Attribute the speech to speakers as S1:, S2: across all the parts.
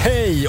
S1: Hej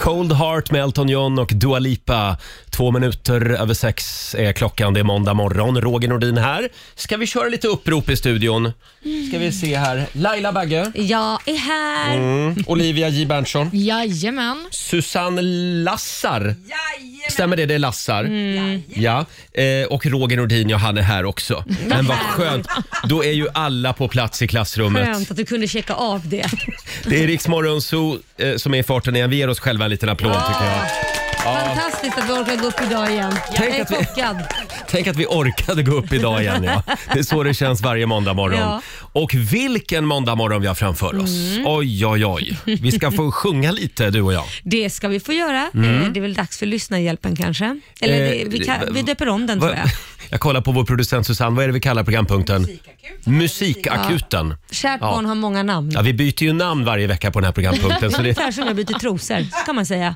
S1: Cold Heart med Elton John och Dua Lipa. Två minuter över sex är klockan. Det är måndag morgon. Roger Nordin här. Ska vi köra lite upprop i studion? Ska vi se här. Laila Bagge.
S2: Mm. Jag är här.
S1: Mm. Olivia J Berntsson.
S2: Jajamän.
S1: Susanne Lassar. Stämmer det? Det är Lassar.
S2: Mm.
S1: Ja. Eh, och Roger Nordin, ja han är här också.
S2: Mm.
S1: Men vad skönt. Då är ju alla på plats i klassrummet.
S2: Skönt att du kunde checka av det.
S1: Det är Riksmorgon Zoo eh, som är i farten igen. Vi ger oss själva en liten applåd tycker jag.
S2: Fantastiskt att vi orkar gå upp idag igen.
S1: Tänk
S2: jag är
S1: att vi-
S2: chockad.
S1: Tänk att vi orkade gå upp idag igen. Ja. Det är så det känns varje måndag morgon.
S2: Ja. Mm.
S1: Och vilken måndag morgon vi har framför oss. Oj, oj, oj. Vi ska få sjunga lite du och jag.
S2: Det ska vi få göra. Eh, Det är väl dags för lyssnarhjälpen kanske? Eller
S1: Mm. Eh,
S2: det, vi, kan, vi döper om den
S1: Va-
S2: tror jag.
S1: Jag kollar på vår producent Susanne. Vad är det vi kallar programpunkten? Musikakuten. Musikakuten.
S2: Kärt
S1: Ja.
S2: barn har många namn.
S1: Ja, vi byter ju namn varje vecka på den här programpunkten. Så det,
S2: Ungefär som jag byter trosor, så kan man säga.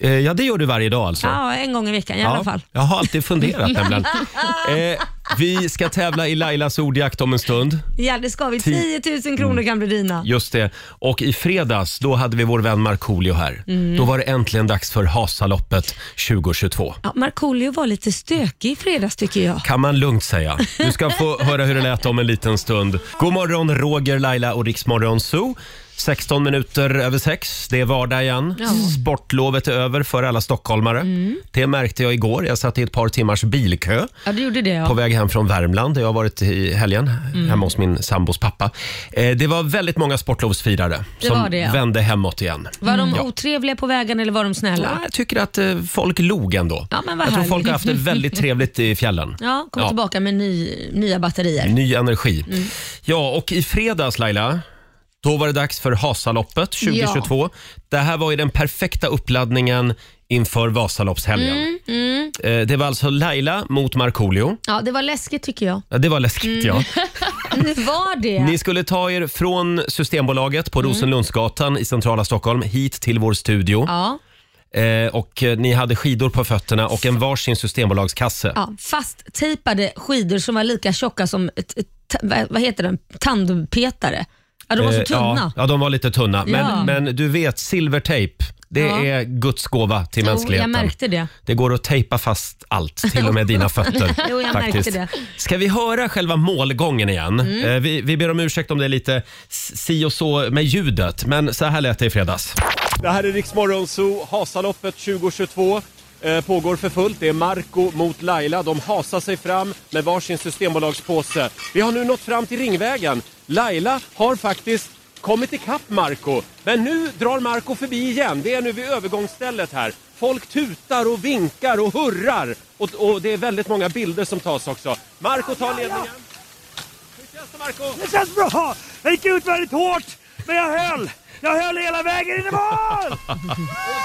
S1: eh, ja, det gör du varje dag alltså?
S2: Ja, en gång i veckan i alla fall.
S1: Jag har alltid funderat nämligen. Eh, vi ska tävla i Lailas ordjakt om en stund.
S2: Ja, det ska vi. 10 000 kronor kan
S1: Mm.
S2: bli dina.
S1: Just det. Och i fredags, då hade vi vår vän Markoolio här.
S2: Mm.
S1: Då var det äntligen dags för Hasaloppet 2022.
S2: Ja, Markoolio var lite stökig i fredags tycker jag.
S1: Kan man lugnt säga. Du ska få höra hur det lät om en liten stund. God morgon Roger, Laila och Riksmorgon Zoo. 16 minuter över sex. Det är vardag igen.
S2: Ja. Mm.
S1: Sportlovet är över för alla stockholmare. Det märkte jag igår. Jag satt i ett par timmars bilkö.
S2: Ja, du gjorde det
S1: på
S2: ja.
S1: väg hem från Värmland där jag har varit i helgen,
S2: Mm.
S1: hemma hos min sambos pappa. Eh, det var väldigt många sportlovsfirare
S2: Det
S1: som
S2: var det, ja.
S1: vände hemåt igen. Mm.
S2: Var de
S1: Ja.
S2: otrevliga på vägen eller var de
S1: Ja,
S2: snälla?
S1: jag tycker att eh, folk log ändå.
S2: Ja, men vad
S1: jag tror
S2: härligt.
S1: folk har haft det väldigt trevligt i fjällen.
S2: Ja, kom tillbaka med ny, nya batterier.
S1: Ny energi.
S2: Mm.
S1: Ja, och i fredags Laila, då var det dags för Hasaloppet 2022. Det här var ju den perfekta uppladdningen inför Vasaloppshelgen.
S2: Mm.
S1: Eh, det var alltså Laila mot Markoolio.
S2: Ja, det var läskigt tycker jag.
S1: Ja, det var
S2: Mm.
S1: läskigt ja.
S2: Det var det.
S1: Ni skulle ta er från Systembolaget
S2: Mm.
S1: på Rosenlundsgatan i centrala Stockholm hit till vår studio.
S2: Ja,
S1: Eh, och eh, ni hade skidor på fötterna och en varsin Systembolagskasse.
S2: ja. Fasttejpade skidor som var lika tjocka som ett, ett, ta- vad- vad heter den? tandpetare. Ja, de var så
S1: Eh,
S2: tunna.
S1: Ja, ja, de var lite tunna. Men,
S2: Ja.
S1: men du vet, silvertejp, det
S2: Ja.
S1: är Guds gåva till
S2: Jo, jag
S1: mänskligheten.
S2: märkte det.
S1: Det går att tejpa fast allt, till och med dina fötter.
S2: Jo, jag märkte
S1: faktiskt.
S2: det. Mm.
S1: Ska vi höra själva målgången igen? Eh, Vi, vi ber om ursäkt om det är lite s- si och så med ljudet, men så här lät det i fredags.
S3: Det här är Riksmorgon Zoo, Hasaloppet 2022. Eh, pågår för fullt. Det är Marco mot Laila. De hasar sig fram med varsin systembolagspåse. Vi har nu nått fram till Ringvägen. Laila har faktiskt kommit ikapp Marco. Men nu drar Marco förbi igen. Det är nu vid övergångsstället här. Folk tutar och vinkar och hurrar. Och, och det är väldigt många bilder som tas också. Marco tar ledningen. Hur känns det Marco?
S4: Det känns bra! Jag gick ut väldigt hårt, men jag höll! Jag höll hela vägen in i mål!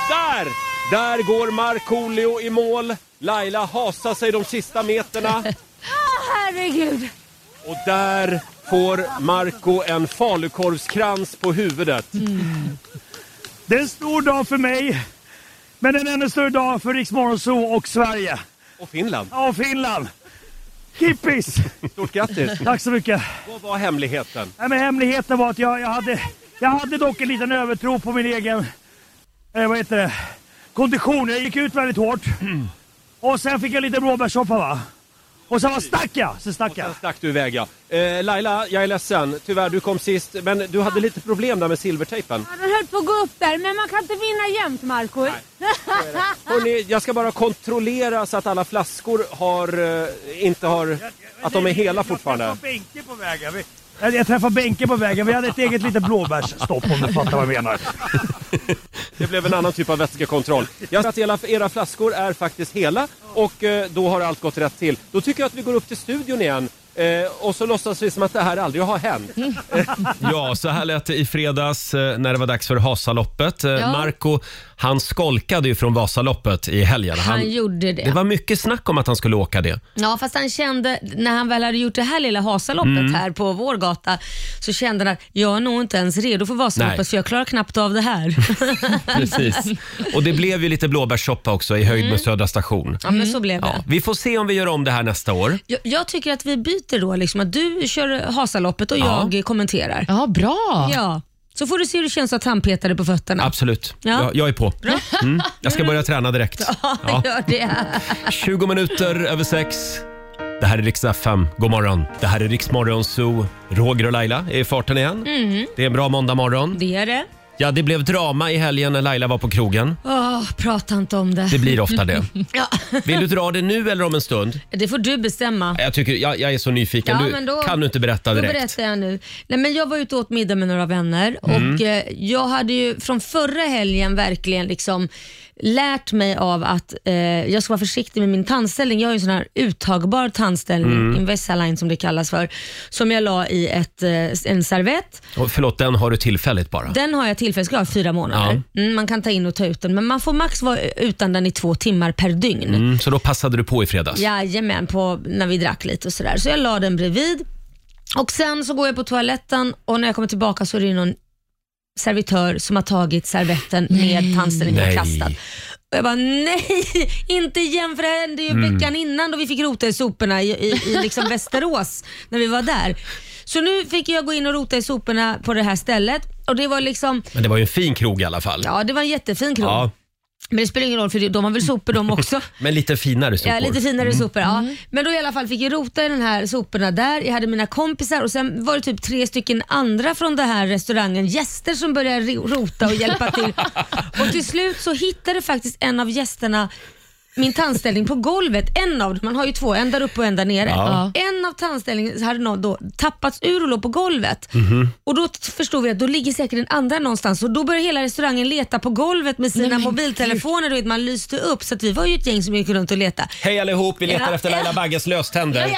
S3: Där! Där går Markoolio i mål. Laila hasar sig de sista meterna.
S2: Herregud.
S3: Och där får Marco en falukorvskrans på huvudet.
S4: Det är en stor dag för mig, men en ännu större dag för Rix Morgon Zoo och Sverige.
S3: Och Finland.
S4: Ja, och Finland! Kippis!
S3: Stort grattis!
S4: Tack så mycket.
S3: Vad var hemligheten?
S4: Nej, men hemligheten var att jag, jag, hade, jag hade dock en liten övertro på min egen... Eh, vad heter det? Kondition. Jag gick ut väldigt hårt. Och sen fick jag lite blåbärssoppa, va? Och sen var stack jag! Sen stack jag.
S3: Sen stack du iväg ja. Eh, Laila, jag är ledsen. Tyvärr, du kom sist. Men du hade lite problem där med silvertejpen.
S5: Ja, den höll på att gå upp där, men man kan inte vinna jämt, Marco.
S3: Hörrni, jag ska bara kontrollera så att alla flaskor har, eh, inte har... Att de är hela fortfarande.
S4: Jag träffade Benke på vägen. Vi- Jag, jag träffade Benke på vägen. Vi hade ett eget litet blåbärsstopp om du fattar vad jag menar.
S3: Det blev en annan typ av vätskekontroll. Jag ser att hela- era flaskor är faktiskt hela och eh, då har allt gått rätt till. Då tycker jag att vi går upp till studion igen. Eh, Eh, och så låtsas vi som att det här aldrig har hänt.
S1: Ja, så här lät det i fredags eh, när det var dags för Hasaloppet. Eh,
S2: Ja.
S1: Marco, han skolkade ju från Vasaloppet i helgen.
S2: Han gjorde det.
S1: Det var mycket snack om att han skulle åka det.
S2: Ja, fast han kände, när han väl hade gjort det här lilla Hasaloppet
S1: Mm.
S2: här på vår gata, så kände han att jag är nog inte ens redo för
S1: Nej.
S2: Vasaloppet, så jag klarar knappt av det här.
S1: Precis. Och det blev ju lite blåbärssoppa också i höjd
S2: Mm.
S1: med Södra station.
S2: Ja, men så blev det.
S1: Ja, vi får se om vi gör om det här nästa år.
S2: Jag, jag tycker att vi byter då, liksom, att du kör Hasaloppet och
S1: Ja.
S2: jag kommenterar.
S6: Ja, bra.
S2: Ja. Så får du se hur det känns att tandpetare på fötterna.
S1: Absolut.
S2: Ja.
S1: Jag, jag är på. Mm. Jag ska börja träna direkt. Ja.
S2: Gör det.
S1: 20 minuter över sex. Det här är riksdag 5. God morgon. Det här är Riksmorgon Zoo. Roger och Laila är i farten igen.
S2: Mhm.
S1: Det är en bra måndag morgon.
S2: Det är det.
S1: Ja, det blev drama i helgen när Laila var på krogen.
S2: Åh, prata inte om det.
S1: Det blir ofta det.
S2: Ja,
S1: Vill du dra det nu eller om en stund?
S2: det får du bestämma.
S1: Jag, tycker, jag, jag är så nyfiken.
S2: Ja,
S1: du,
S2: men då-
S1: kan du inte berätta
S2: Då
S1: direkt?
S2: berättar jag nu. Nej, men jag var ute och åt middag med några vänner
S1: Mm.
S2: och eh, jag hade ju från förra helgen verkligen liksom lärt mig av att eh, jag ska vara försiktig med min tandställning. Jag har ju en sån här uttagbar tandställning,
S1: Mm.
S2: Invisalign som det kallas för, som jag la i ett, eh, en servett.
S1: Och förlåt, den har du tillfälligt bara.
S2: Den har jag tillfälligt klar fyra månader. Mm, man kan ta in och ta ut den, men man får max vara utan den i två timmar per dygn.
S1: Mm, så då passade du på i fredags?
S2: Jajamän, på, när vi drack lite och sådär. Så jag la den bredvid. Och sen så går jag på toaletten och när jag kommer tillbaka så är det ju någon servitör som har tagit servetten med tandställningen och
S1: Nej.
S2: kastat. Och jag bara nej, inte igen för det här hände ju
S1: Mm.
S2: veckan innan då vi fick rota i soporna i, i, i liksom Västerås när vi var där. Så nu fick jag gå in och rota i soporna på det här stället och det var liksom,
S1: Men det var ju en fin krog i alla fall.
S2: ja det var en jättefin krog.
S1: Ja,
S2: Men det spelar ingen roll för de har väl sopor de också.
S1: men lite finare sopor. Mm.
S2: Ja, lite finare sopor. Ja. Men då i alla fall fick jag rota i den här soporna där. Jag hade mina kompisar och sen var det typ tre stycken andra från den här restaurangen, gäster som började ro- rota och hjälpa till. och till slut så hittade faktiskt en av gästerna min tandställning på golvet, en av dem, man har ju två, en där uppe och en där nere.
S1: Ja.
S2: En av tandställningen hade någon då tappats ur och låg på golvet.
S1: Mhm.
S2: Och då t- förstod vi att då ligger säkert den andra någonstans och då började hela restaurangen leta på golvet med sina mobiltelefoner, du vet, man lyste upp så att vi var ju ett gäng som gick runt och letade.
S1: Hej allihop, vi letar
S2: Ja.
S1: efter Laila Bagges löständer.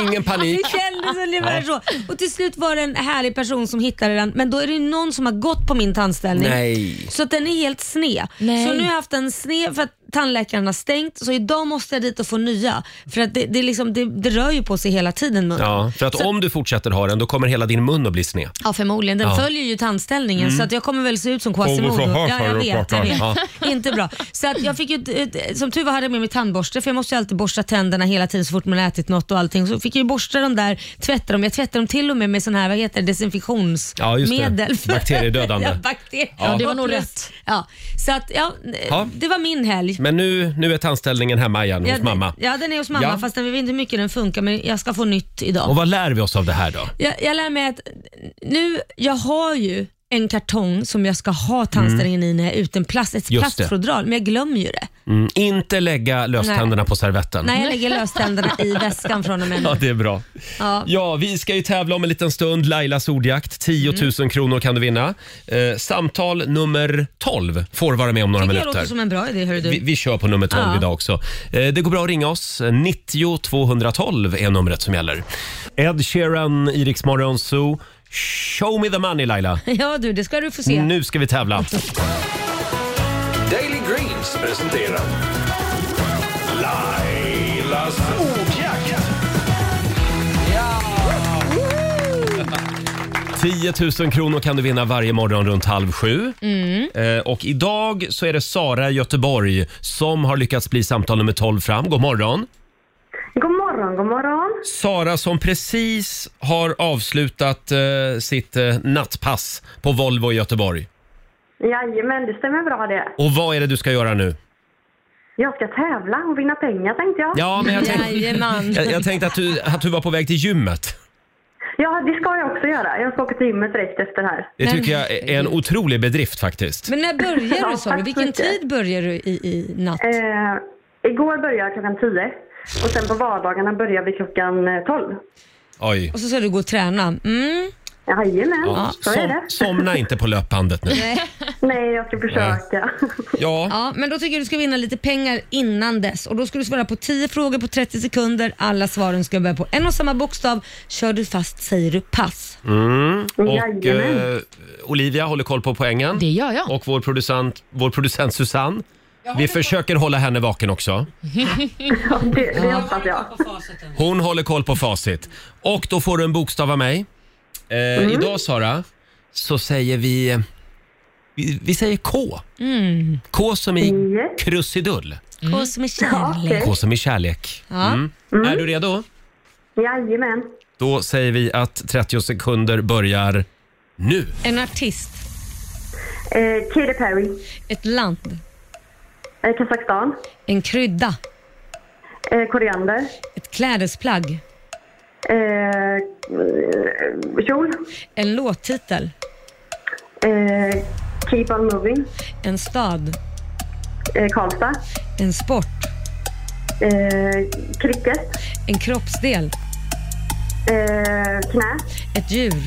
S1: Ingen panik.
S2: Det kändes ungefär så. Alltså, Och till slut var det en härlig person som hittade den, men då är det ju någon som har gått på min tandställning.
S1: Nej.
S2: Så att den är helt sned.
S6: Nej.
S2: Så nu har jag haft en sned för att tandläkaren har stängt, så idag måste jag dit och få nya. För att det, det, är liksom, det, det rör ju på sig hela tiden munnen. Ja.
S1: Ja, för att om du fortsätter ha den, då kommer hela din mun att bli sned.
S2: förmodligen. Den
S1: Ja. Mm.
S2: följer ju tandställningen så att jag kommer väl se ut som Quasimodo.
S1: så här
S2: ja, jag
S1: far och
S2: vet. Jag
S1: pratar.
S2: vet.
S1: Ja.
S2: Inte bra. Så att jag fick ju, ett- ett- som tur var hade jag med mig tandborste för jag måste ju alltid borsta tänderna hela tiden så fort man har ätit något och allting. Så fick jag ju borsta dem där, tvätta dem. Jag tvättade dem till och med med sån här, vad heter det,
S1: Ja, just det.
S2: desinfektionsmedel.
S1: Bakteriedödande.
S2: ja, bakterier.
S1: Ja,
S6: det var nog
S2: Plus-
S6: rätt.
S2: Ja, så att ja,
S1: Ja.
S2: det var min helg.
S1: Men nu, nu är tandställningen hemma igen
S2: Ja,
S1: hos mamma.
S2: Ja, den är hos mamma
S1: Ja.
S2: fast jag vet inte hur mycket den funkar men jag ska få nytt idag.
S1: Och vad lär vi oss av det här då?
S2: Jag, jag lär mig att nu, jag har ju en kartong som jag ska ha tandställningen i när jag är ute, en plast, ett
S1: Just det.
S2: plastfodral, men jag glömmer ju det.
S1: Mm, inte lägga löständerna på servetten.
S2: Nej, jag lägger löständerna i väskan från och med
S1: Mm. Ja,
S2: nu.
S1: det är bra.
S2: Ja.
S1: Ja, vi ska ju tävla om en liten stund. Lailas ordjakt.
S2: Mm.
S1: 10 000 kronor kan du vinna. Eh, samtal nummer 12 får vara med om några
S2: Tycker jag
S1: minuter.
S2: låter som en bra idé, hörru
S1: Vi,
S2: du.
S1: vi kör på nummer 12
S2: Ja.
S1: idag också. Eh, Det går bra att ringa oss. 90 212 är numret som gäller. Ed Sheeran, Iriks Zoo. Show me the money Laila.
S2: Ja du, det ska du få se.
S1: Nu ska vi tävla.
S7: Daily Greens presenterar Lailas ordjakt.
S1: 10 000 kronor kan du vinna varje morgon runt halv sju. Eh, Och idag så är det Sara i Göteborg som har lyckats bli samtal nummer 12 fram. God morgon.
S8: God morgon, god morgon.
S1: Sara som precis har avslutat eh, sitt eh, nattpass på Volvo i Göteborg.
S8: Jajamän, det stämmer bra det.
S1: Och vad är det du ska göra nu?
S8: Jag ska tävla och vinna pengar tänkte jag.
S1: Ja, men jag tänkte,
S2: Jajamän.
S1: jag, jag tänkte att, du, att du var på väg till gymmet.
S8: Ja, det ska jag också göra. Jag ska åka till gymmet direkt efter här.
S1: Det tycker jag är en otrolig bedrift faktiskt.
S2: Men när börjar du sa du?
S8: tack så
S2: Vilken
S8: mycket.
S2: tid börjar du i, i natt?
S8: Eh, igår började jag klockan 10 och sen på vardagarna börjar vi klockan eh, 12.
S1: Oj.
S2: Och så ska du gå och träna. Mm.
S8: Jajamän,
S1: Ja,
S8: så är
S1: som,
S8: det.
S1: somna inte på löpbandet nu.
S8: Nej, jag ska försöka.
S1: Ja,
S2: Ja, men då tycker jag du ska vinna lite pengar innan dess och då ska du svara på 10 frågor på 30 sekunder. Alla svaren ska börja på en och samma bokstav. Kör du fast säger du pass.
S1: och
S8: Jajamän.
S1: eh, Olivia håller koll på poängen.
S6: Det gör jag.
S1: Och vår producent, vår producent Susanne. Vi försöker hålla henne vaken också.
S8: Ja, det, det hoppas jag.
S1: Hon håller koll på facit. Och då får du en bokstav av mig. Eh, Idag Sara, så säger vi... Vi, vi säger K. K som i
S8: Yes.
S1: krusidull.
S2: Och som är
S8: Ja,
S2: kärlek.
S8: okej.
S1: K som i kärlek.
S2: Ja.
S1: Mm. Är du redo?
S8: Jajamän.
S1: Då säger vi att 30 sekunder börjar nu.
S2: En artist.
S8: Eh, Katy Perry,
S2: Ett land.
S8: eh, Kazakstan,
S2: En krydda.
S8: eh, koriander,
S2: Ett klädesplagg.
S8: eh, eh, kjol,
S2: En låttitel.
S8: eh, Keep on moving,
S2: En stad.
S8: eh, Karlstad,
S2: En sport.
S8: eh, cricket,
S2: En kroppsdel.
S8: eh, knä,
S2: Ett djur.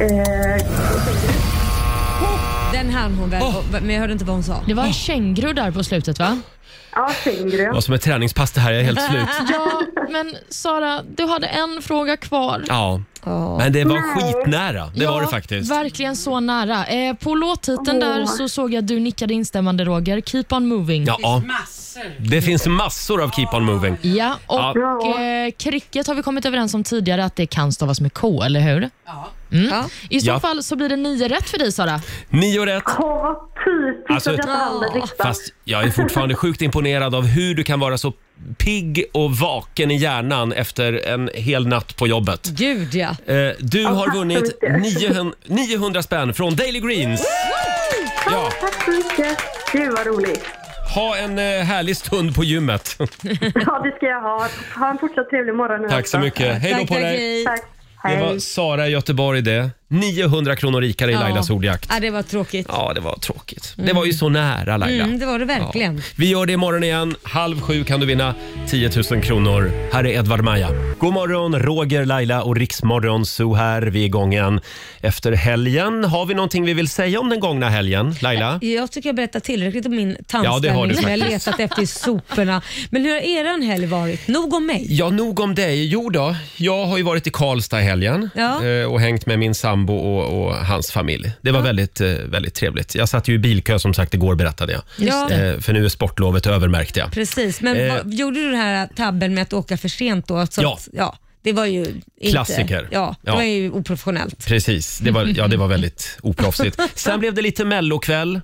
S8: eh,
S2: Den hann hon väl, men jag hörde inte vad hon sa.
S6: Det var en känguru där på slutet va?
S8: ja, tyngre.
S1: Det var som ett träningspass det här, jag är helt slut.
S6: Ja, men Sara, du hade en fråga kvar.
S1: Ja, men det var skitnära. Det var det faktiskt.
S6: Verkligen så nära. Eh, på låttiteln där så såg jag att du nickade instämmande Roger. Keep on moving.
S1: Ja, det finns massor av Keep On Moving.
S6: Ja, och
S8: Ja.
S6: Eh, cricket har vi kommit överens om tidigare att det kan stavas med K, eller hur? Mm.
S2: Ja.
S6: I så
S1: Ja.
S6: fall så blir det nio rätt för dig Sara.
S1: Nio rätt.
S8: Åh, vad typiskt
S1: Alltså-
S8: att jag tar hand om riksdagen.
S1: Fast jag är fortfarande sjukt imponerad av hur du kan vara så pigg och vaken i hjärnan efter en hel natt på jobbet.
S2: Gud ja.
S1: Eh, Du har
S8: tack så
S1: vunnit
S8: mycket.
S1: 900, 900 spänn från Daily Greens. Ja,
S8: Tack så mycket. Gud, vad roligt.
S1: ha en eh, härlig stund på gymmet.
S8: Ja, det ska jag ha. Ha en fortsatt trevlig morgon. nu
S1: Tack så
S8: också.
S1: mycket. Hej då
S2: Tack,
S1: på
S2: tack,
S1: dig.
S2: hej.
S8: Tack.
S1: Det
S8: Hej.
S1: var Sara i Göteborg det. 900 kronor rikare i Lailas ordjakt.
S2: Ja, det var tråkigt.
S1: Ja, det var tråkigt. Det var ju så nära Laila.
S2: Mm, det var det verkligen.
S1: Vi gör det imorgon igen. Halv sju kan du vinna 10 000 kronor. Här är Edvard Maja. God morgon, Roger, Laila och Riksmorgon Zoo här. Vi är igång igen efter helgen. Har vi någonting vi vill säga om den gångna helgen, Laila?
S2: Jag tycker jag berättar tillräckligt om min
S1: Ja, det har du
S2: tandställning som jag
S1: faktiskt.
S2: letat efter i soporna. Men hur har eran helg varit? Nog om mig.
S1: Ja, nog om dig. Jo då, jag har ju varit i Karlstad i helgen
S2: Ja.
S1: eh, och hängt med min sambo och, och hans familj. Det var väldigt, eh, väldigt trevligt. Jag satt ju i bilkö som sagt igår berättade jag.
S2: Ja.
S1: Eh, För nu är sportlovet över märkte jag.
S2: Precis, men
S1: Eh.
S2: vad, gjorde du den här tabben med att åka för sent då? Så
S1: Ja.
S2: Att, ja. Det var ju inte,
S1: Klassiker.
S2: Ja, det
S1: Ja.
S2: var ju oprofessionellt.
S1: Precis, det var, ja, det var väldigt oproffsigt. Sen blev det lite mellokväll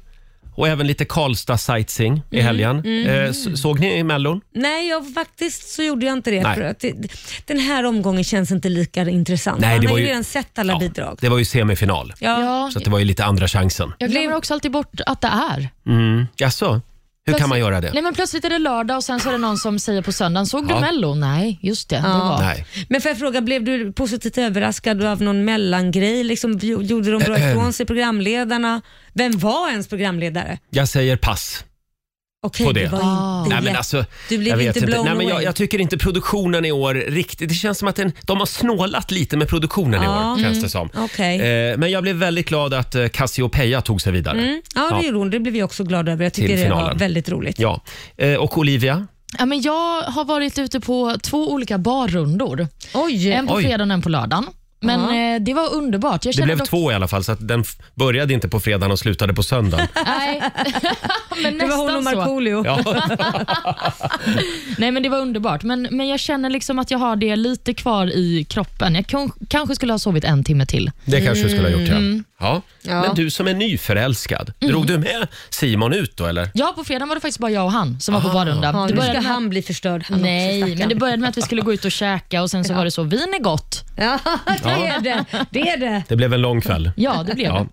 S1: och även lite Karlstad sightseeing i
S2: Mm,
S1: helgen. Eh, s- såg ni mellon?
S2: Nej, jag, faktiskt så gjorde jag inte det.
S1: Nej.
S2: För att det. Den här omgången känns inte lika intressant.
S1: Nej, det
S2: Man har
S1: var
S2: ju
S1: ju-
S2: redan sett alla bidrag.
S1: Det var ju semifinal,
S2: Ja.
S6: Ja,
S1: så att det var ju lite andra chansen. Mm.
S6: jag glömmer också alltid bort att det är.
S1: Jaså, hur kan man göra det?
S6: Nej men plötsligt är det lördag och sen så är det någon som säger på söndagen, såg du
S1: Ja.
S6: Mello? Nej, just det. det var.
S1: Nej.
S2: Men får jag fråga, blev du positivt överraskad av någon mellangrej? Liksom, gj- gjorde de
S1: Äh,
S2: bra ifrån sig programledarna? Vem var ens programledare?
S1: Jag säger pass.
S2: Okej,
S1: På
S2: det.
S1: det.
S2: var
S6: Ah.
S2: inte
S1: Nej, men
S2: jätte-
S1: alltså,
S2: Du blev
S1: jag vet
S2: inte blown
S1: Nej, men jag,
S2: away.
S1: jag tycker inte produktionen i år riktigt... Det känns som att den, de har snålat lite med produktionen i
S2: Ja. Mm.
S1: år, känns det som.
S2: Okej.
S1: Eh, men jag blev väldigt glad att eh, Cassiopeia tog sig vidare.
S2: Mm. Ja, det
S1: Ja.
S2: gjorde hon. Det blev jag också glad över. Jag tyckte
S1: Till
S2: det var
S1: finalen.
S2: väldigt roligt.
S1: Ja. Eh, och Olivia?
S6: Ja, men jag har varit ute på två olika barrundor.
S2: Oj!
S6: En på
S1: Oj.
S6: fredagen och en på lördagen. Men eh, det var underbart. Jag
S1: Det
S6: känner
S1: blev
S6: dock-
S1: två i alla fall, så att den f- började inte på fredagen och slutade på söndagen.
S6: Nej, men
S2: det var hon och
S6: nästan så.
S2: Markoolio.
S1: Ja.
S6: Nej men det var underbart. Men, men jag känner liksom att jag har det lite kvar i kroppen. Jag kan, kanske skulle ha sovit en timme till.
S1: Det kanske du skulle ha gjort, ja. ja.
S2: Mm. Ja. Mm.
S1: Men du som är nyförälskad, drog du med Simon ut då eller?
S6: Ja, på fredagen var det faktiskt bara jag och han som var på barrunda.
S2: Ah. Ja,
S6: det
S2: nu
S6: började
S2: ska
S6: med...
S2: han bli förstörd. Han också,
S6: Nej,
S2: stackarn.
S6: men det började med att vi skulle gå ut och käka och sen så var det så, vin är gott.
S2: Ja, det är det. Det är det.
S1: Det blev en lång kväll.
S6: Ja, det blev
S1: Ja.
S6: det.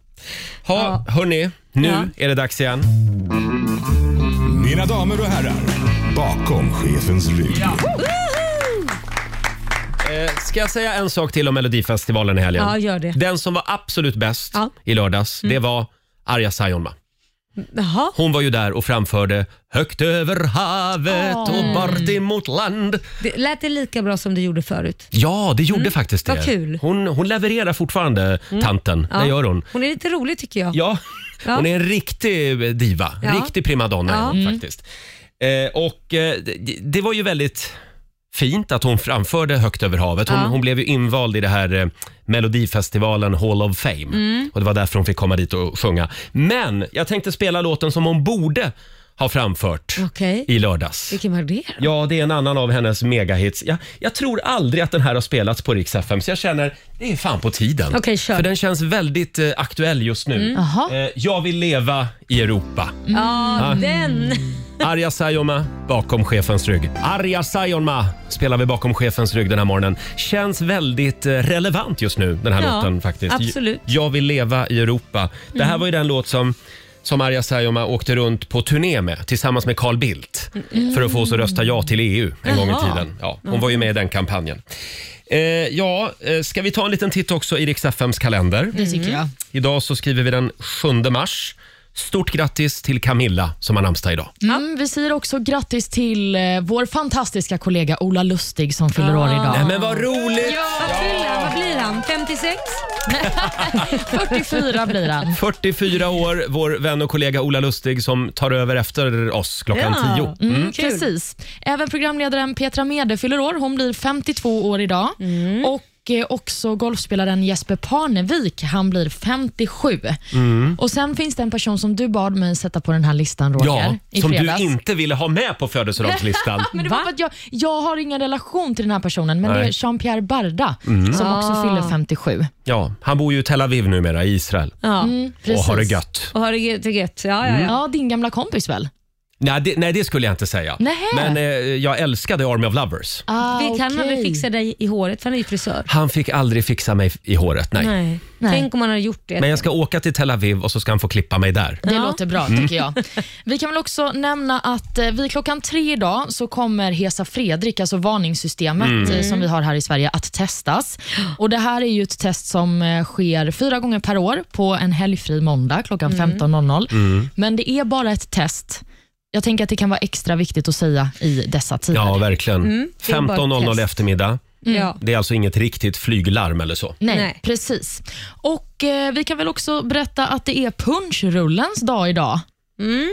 S1: Ha, hörni, nu är det dags igen.
S7: Mina damer och herrar, bakom chefens rygg.
S1: Eh, ska jag säga en sak till om Melodifestivalen i helgen?
S2: Ja, gör det.
S1: Den som var absolut bäst
S2: Ja. Mm.
S1: i lördags, det var Arja Saijonmaa.
S2: Jaha.
S1: Hon var ju där och framförde Högt över havet och bort emot land.
S2: Det lät det lika bra som du gjorde förut?
S1: Ja, det gjorde faktiskt det.
S2: Mm. vad kul. Mm.
S1: Hon, hon levererar fortfarande, tanten.
S2: Ja.
S1: Det gör hon.
S2: Hon är lite rolig tycker jag.
S1: Ja,
S2: Ja.
S1: hon är en riktig diva.
S2: Ja.
S1: Riktig primadonna är
S2: Ja. Mm.
S1: hon faktiskt. Eh, och eh, det, det var ju väldigt fint att hon framförde Högt över havet. Hon,
S2: Ja.
S1: hon blev ju invald i det här eh, Melodifestivalen Hall of Fame.
S2: Mm.
S1: Och Det var därför hon fick komma dit och sjunga. Men jag tänkte spela låten som hon borde ha framfört
S2: Okej.
S1: i lördags.
S2: Vilken var det då?
S1: Ja, det är en annan av hennes megahits. Jag, jag tror aldrig att den här har spelats på Rix FM, så jag känner det är fan på tiden.
S2: Okej, kör.
S1: För den känns väldigt eh, aktuell just
S2: Mm.
S1: nu.
S6: Jaha.
S1: Eh, jag vill leva i Europa. Ah.
S2: Ja, den.
S1: Arja Saijonmaa bakom chefens rygg. Arja Saijonmaa spelar vi bakom chefens rygg den här morgonen. Känns väldigt eh, relevant just nu, den här
S2: Ja,
S1: låten faktiskt.
S2: absolut. Mm.
S1: J- Jag vill leva i Europa. Det här var ju den låt som som Arja Saijonmaa åkte runt på turné med tillsammans med Carl Bildt för att få oss att rösta ja till EU en gång i
S2: Mm. Jaha.
S1: tiden. Ja, hon var ju med i den kampanjen. Eh, ja, eh, ska vi ta en liten titt också i Rix FMs kalender?
S6: Det
S2: Mm.
S6: tycker jag.
S1: Idag så skriver vi den 7 mars. Stort grattis till Camilla som har namnsdag idag.
S6: Mm, vi säger också grattis till eh, vår fantastiska kollega Ola Lustig som fyller
S2: Ah.
S6: år
S1: Nej,
S6: idag.
S1: men vad roligt!
S2: Vad fyller han? Vad blir han? 56?
S6: 44 blir han.
S1: 44 år, vår vän och kollega Ola Lustig som tar över efter oss klockan
S2: Ja.
S1: 10.
S6: Mm, precis. Även programledaren Petra Mede fyller år. Hon blir 52 år idag.
S2: Mm.
S6: Och eh, också golfspelaren Jesper Parnevik, han blir 57.
S1: Mm.
S6: Och Sen finns det en person som du bad mig sätta på den här listan, Roger.
S1: Ja,
S6: i
S1: som du
S6: fredags.
S1: inte ville ha med på födelsedagslistan.
S6: Men det var för att jag, jag har ingen relation till den här personen, men det
S1: Nej. Mm.
S6: är Jean-Pierre Barda som
S2: Ah.
S6: också fyller 57.
S1: Ja, han bor ju i Tel Aviv numera, i Israel.
S2: Ja.
S1: Och
S6: Precis.
S1: har det gött.
S2: Och har det gött- det gött? Ja, ja,
S1: Mm.
S2: ja.
S6: Ja, din gamla kompis väl?
S1: Nej det, nej, det skulle jag inte säga.
S6: Nähä.
S1: Men eh, jag älskade Army of Lovers.
S6: Ah,
S2: Vi kan aldrig
S6: okej.
S2: fixa dig i håret för han är ju frisör.
S1: Han fick aldrig fixa mig i håret, nej.
S2: Nej.
S6: Nej.
S2: Tänk om han hade gjort det.
S1: Men jag ska åka till Tel Aviv och så ska han få klippa mig där.
S6: Det låter bra tycker jag. Vi kan väl också nämna att eh, vid klockan tre idag så kommer Hesa Fredrik, alltså varningssystemet
S1: Mm.
S6: eh, som vi har här i Sverige, att testas. Och Det här är ju ett test som eh, sker fyra gånger per år på en helgfri måndag klockan
S1: Mm.
S6: 15.00. Men det är bara ett test. Jag tänker att det kan vara extra viktigt att säga i dessa tider.
S1: Ja, verkligen.
S2: Mm, det är bara ett
S1: 15.00
S2: test.
S1: eftermiddag.
S2: Ja.
S1: Det är alltså inget riktigt flyglarm eller så.
S6: Nej,
S2: Nej.
S6: precis. Och eh, Vi kan väl också berätta att det är punschrullens dag idag.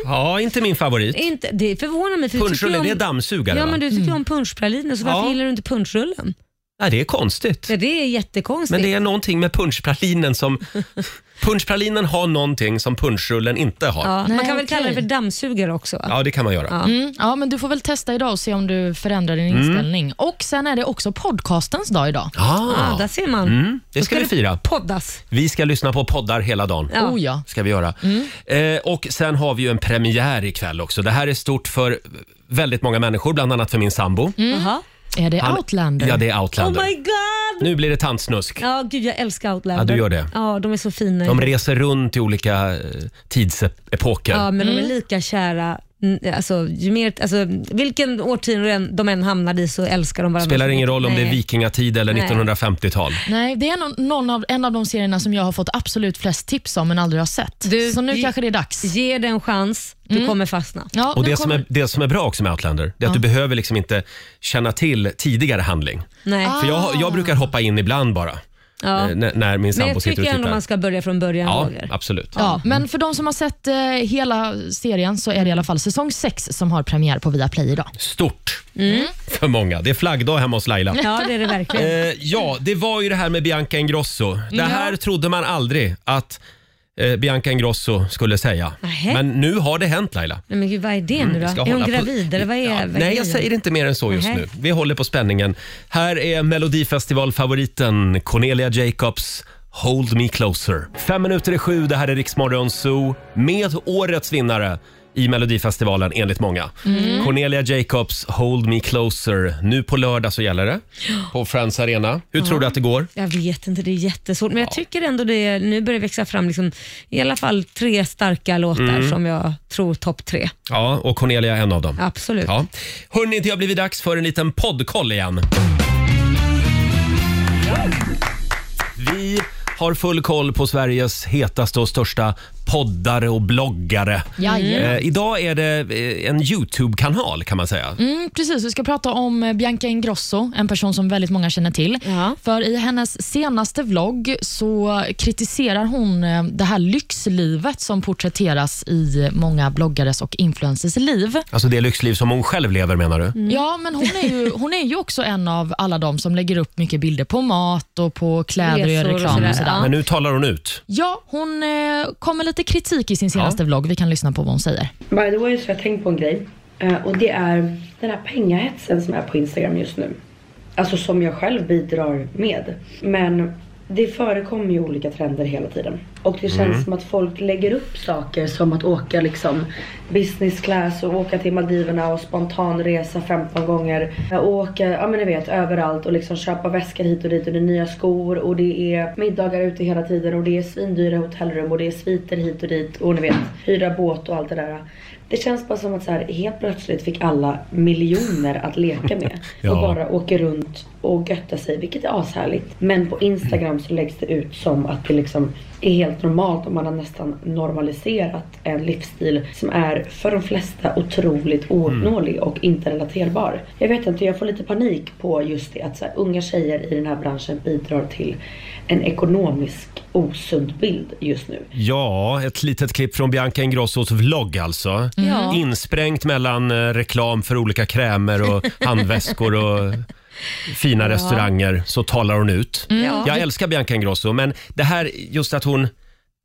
S1: Ja, inte min favorit.
S2: Inte, det förvånar mig. För du tycker ju
S1: Punschrulle,
S2: om,
S1: det är dammsugare
S2: Ja,
S1: va?
S2: men du tycker
S6: Mm.
S2: ju om punschpraliner, så varför
S1: Ja.
S2: gillar du inte punschrullen?
S1: Nej, det är konstigt.
S2: Ja, det är jättekonstigt.
S1: Men det är någonting med punschpralinen som... punschpralinen har någonting som punschrullen inte har. Ja,
S2: ja, man
S6: Nej,
S2: kan väl kalla det för
S6: okej.
S2: dammsugare också? Va?
S1: det kan man göra.
S6: Mm, ja, men du får väl testa idag och se om du förändrar din
S1: Mm.
S6: inställning. Och Sen är det också podcastens dag idag.
S2: Ah,
S1: Ah,
S2: där ser man.
S1: det ska vi fira.
S2: Poddas.
S1: Vi ska lyssna på poddar hela dagen.
S2: Ja. Mm.
S6: Oh, ja.
S1: Ska vi göra. Eh, och sen har vi ju en premiär ikväll också. Det här är stort för väldigt många människor, bland annat för min sambo.
S2: Jaha.
S6: Är det
S1: Han-
S6: Outlander?
S1: Ja, det är
S2: Mm. Oh
S1: Outlander.
S2: my god!
S1: nu blir det tantsnusk.
S2: Ja, gud jag älskar Outlander.
S1: Ja, du gör det.
S2: Ja, de är så fina.
S1: De reser runt i olika eh, tidsepoker.
S2: Ja, men de är lika kära. Mm, Alltså, ju mer, alltså, vilken årtionde än- de än hamnar i så älskar de varandra.
S1: Spelar ingen roll om det är
S2: Nej.
S1: vikingatid eller
S2: Nej.
S1: 1950-tal.
S6: Nej, det är någon, någon av, en av de serierna som jag har fått absolut flest tips om men aldrig har sett.
S2: Du-
S6: Så nu
S2: i-
S6: kanske det är dags.
S2: Ge det en chans, du
S6: Mm.
S2: kommer fastna.
S6: Ja,
S1: Och
S6: nu
S1: det som,
S6: kommer-
S1: är, det som är bra också med Outlander, det är att du behöver liksom inte känna till tidigare handling.
S2: Nej.
S6: Ah.
S1: För jag, jag brukar hoppa in ibland bara,
S2: Ah. Ja.
S1: eh, när, när min
S2: Men
S1: sambo
S2: jag
S1: sitter och
S2: tycker ändå
S1: tittar.
S2: man ska börja från början
S1: Ja,
S2: Roger.
S1: absolut.
S6: Ja, men för de som har sett eh, hela serien så är det i alla fall säsong 6 som har premiär på Viaplay idag.
S1: Stort
S2: Mm.
S1: för många. Det är flaggdag hemma hos Laila.
S2: Ja, det är det verkligen.
S1: Eh, ja, det var ju det här med Bianca Ingrosso. Det här trodde man aldrig att eh, Bianca Ingrosso skulle säga.
S2: Nähä.
S1: Men nu har det hänt Laila.
S2: Nej, men gud, vad är det nu
S1: Mm. Vi
S2: då?
S1: ska
S2: Är hon
S1: hålla på-
S2: gravid eller vad är
S1: Ja,
S2: vad är
S1: nej, jag
S2: grejen?
S1: säger inte mer än så just
S2: Nej.
S1: nu. Vi håller på spänningen. Här är Melodifestivalfavoriten Cornelia Jacobs Hold Me Closer. Fem minuter i sju, det här är Riksmorgon Zoo med årets vinnare i Melodifestivalen enligt många.
S2: Mm.
S1: Cornelia Jacobs Hold Me Closer. Nu på lördag så gäller det på Friends Arena. Hur tror du att det går?
S2: Jag vet inte, det är jättesvårt. Men jag tycker ändå det är, nu börjar det växa fram liksom, i alla fall tre starka låtar
S1: Mm.
S2: som jag tror topp tre.
S1: Ja, och Cornelia är en av dem.
S2: Absolut.
S1: Ja. Hörrni, det har blivit dags för en liten poddkoll igen. Vi har full koll på Sveriges hetaste och största poddare och bloggare.
S2: Mm.
S6: Jajamän.
S1: Eh, idag är det eh, en YouTube-kanal kan man säga.
S6: Mm, precis, vi ska prata om eh, Bianca Ingrosso, en person som väldigt många känner till.
S2: Ja.
S6: För i hennes senaste vlogg så kritiserar hon eh, det här lyxlivet som porträtteras i många bloggares och influencers liv.
S1: Alltså det lyxliv som hon själv lever menar du?
S2: Mm.
S6: Ja, men hon är, ju, hon är ju också en av alla de som lägger upp mycket bilder på mat och på kläder och gör
S2: Resor och
S6: reklam
S2: sådär,
S6: och sådär.
S1: Men nu talar hon ut.
S6: Ja, hon eh, kom med lite kritik i sin senaste vlogg. Vi kan lyssna på vad hon säger.
S9: By the way så har jag tänkt på en grej. Eh, Och det är den här pengahetsen som är på Instagram just nu. Alltså som jag själv bidrar med. Men det förekommer ju olika trender hela tiden. Och det känns som att folk lägger upp saker som att åka liksom business class och åka till Maldiverna och spontanresa 15 gånger. Eh, Och åka, ja men ni vet, överallt och liksom köpa väskor hit och dit och det är nya skor och det är middagar ute hela tiden och det är svindyra hotellrum och det är sviter hit och dit och ni vet, hyra båt och allt det där. Det känns bara som att så här, helt plötsligt fick alla miljoner att leka med
S1: Ja.
S9: och bara åker runt och göttar sig, vilket är ashärligt. Men på Instagram så läggs det ut som att det liksom är helt normalt och man har nästan normaliserat en livsstil som är för de flesta otroligt ouppnåelig och inte relaterbar. Jag vet inte, jag får lite panik på just det att så här, unga tjejer i den här branschen bidrar till en ekonomisk osund bild just nu.
S1: Ja, ett litet klipp från Bianca Ingrossos vlogg alltså. Insprängt mellan eh, reklam för olika krämer och handväskor och fina restauranger så talar hon ut.
S2: Mm.
S1: Jag älskar Bianca Ingrosso men det här just att hon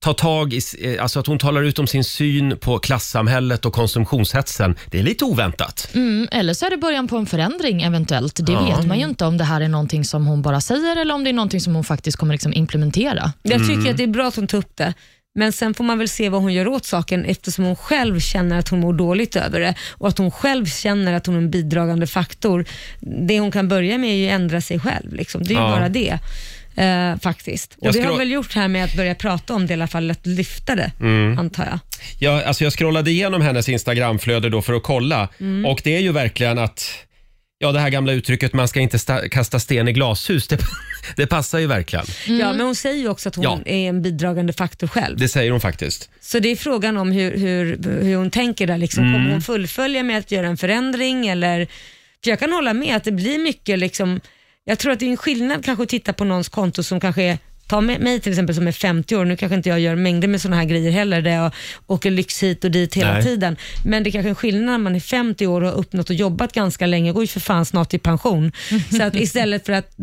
S1: tar tag i, s- eh, alltså att hon talar ut om sin syn på klassamhället och konsumtionshetsen. Det är lite oväntat.
S6: Mm, eller så är det början på en förändring eventuellt. Det vet man ju inte om det här är någonting som hon bara säger eller om det är någonting som hon faktiskt kommer liksom implementera.
S2: Jag tycker
S1: Mm.
S2: att det är bra att hon tar upp det. Men sen får man väl se vad hon gör åt saken eftersom hon själv känner att hon mår dåligt över det och att hon själv känner att hon är en bidragande faktor. Det hon kan börja med är ju att ändra sig själv. Liksom. Det är ju
S1: Ja.
S2: bara det. eh, faktiskt.
S1: Jag
S2: Och det har
S1: skrå-
S2: hon väl gjort här med att börja prata om det i alla fall, att lyfta det
S1: Mm.
S2: antar jag.
S1: Jag, alltså jag scrollade igenom hennes Instagramflöde då för att kolla och det är ju verkligen att Ja, det här gamla uttrycket man ska inte sta- kasta sten i glashus, det, det passar ju verkligen.
S2: Ja, men hon säger ju också att hon
S1: Ja.
S2: är en bidragande faktor själv.
S1: Det säger hon faktiskt.
S2: Så det är frågan om hur, hur, hur hon tänker där. Liksom.
S1: Mm.
S2: Kommer hon fullfölja med att göra en förändring? Eller... För jag kan hålla med att det blir mycket, liksom, jag tror att det är en skillnad kanske att titta på någons konto som kanske är Ta mig- mig till exempel som är 50 år, nu kanske inte jag gör mängder med sådana här grejer heller där jag åker lyx hit och dit hela
S1: Nej.
S2: tiden. Men det är kanske är en skillnad när man är 50 år och har uppnått och jobbat ganska länge, går ju för fan snart i pension. Så att istället för att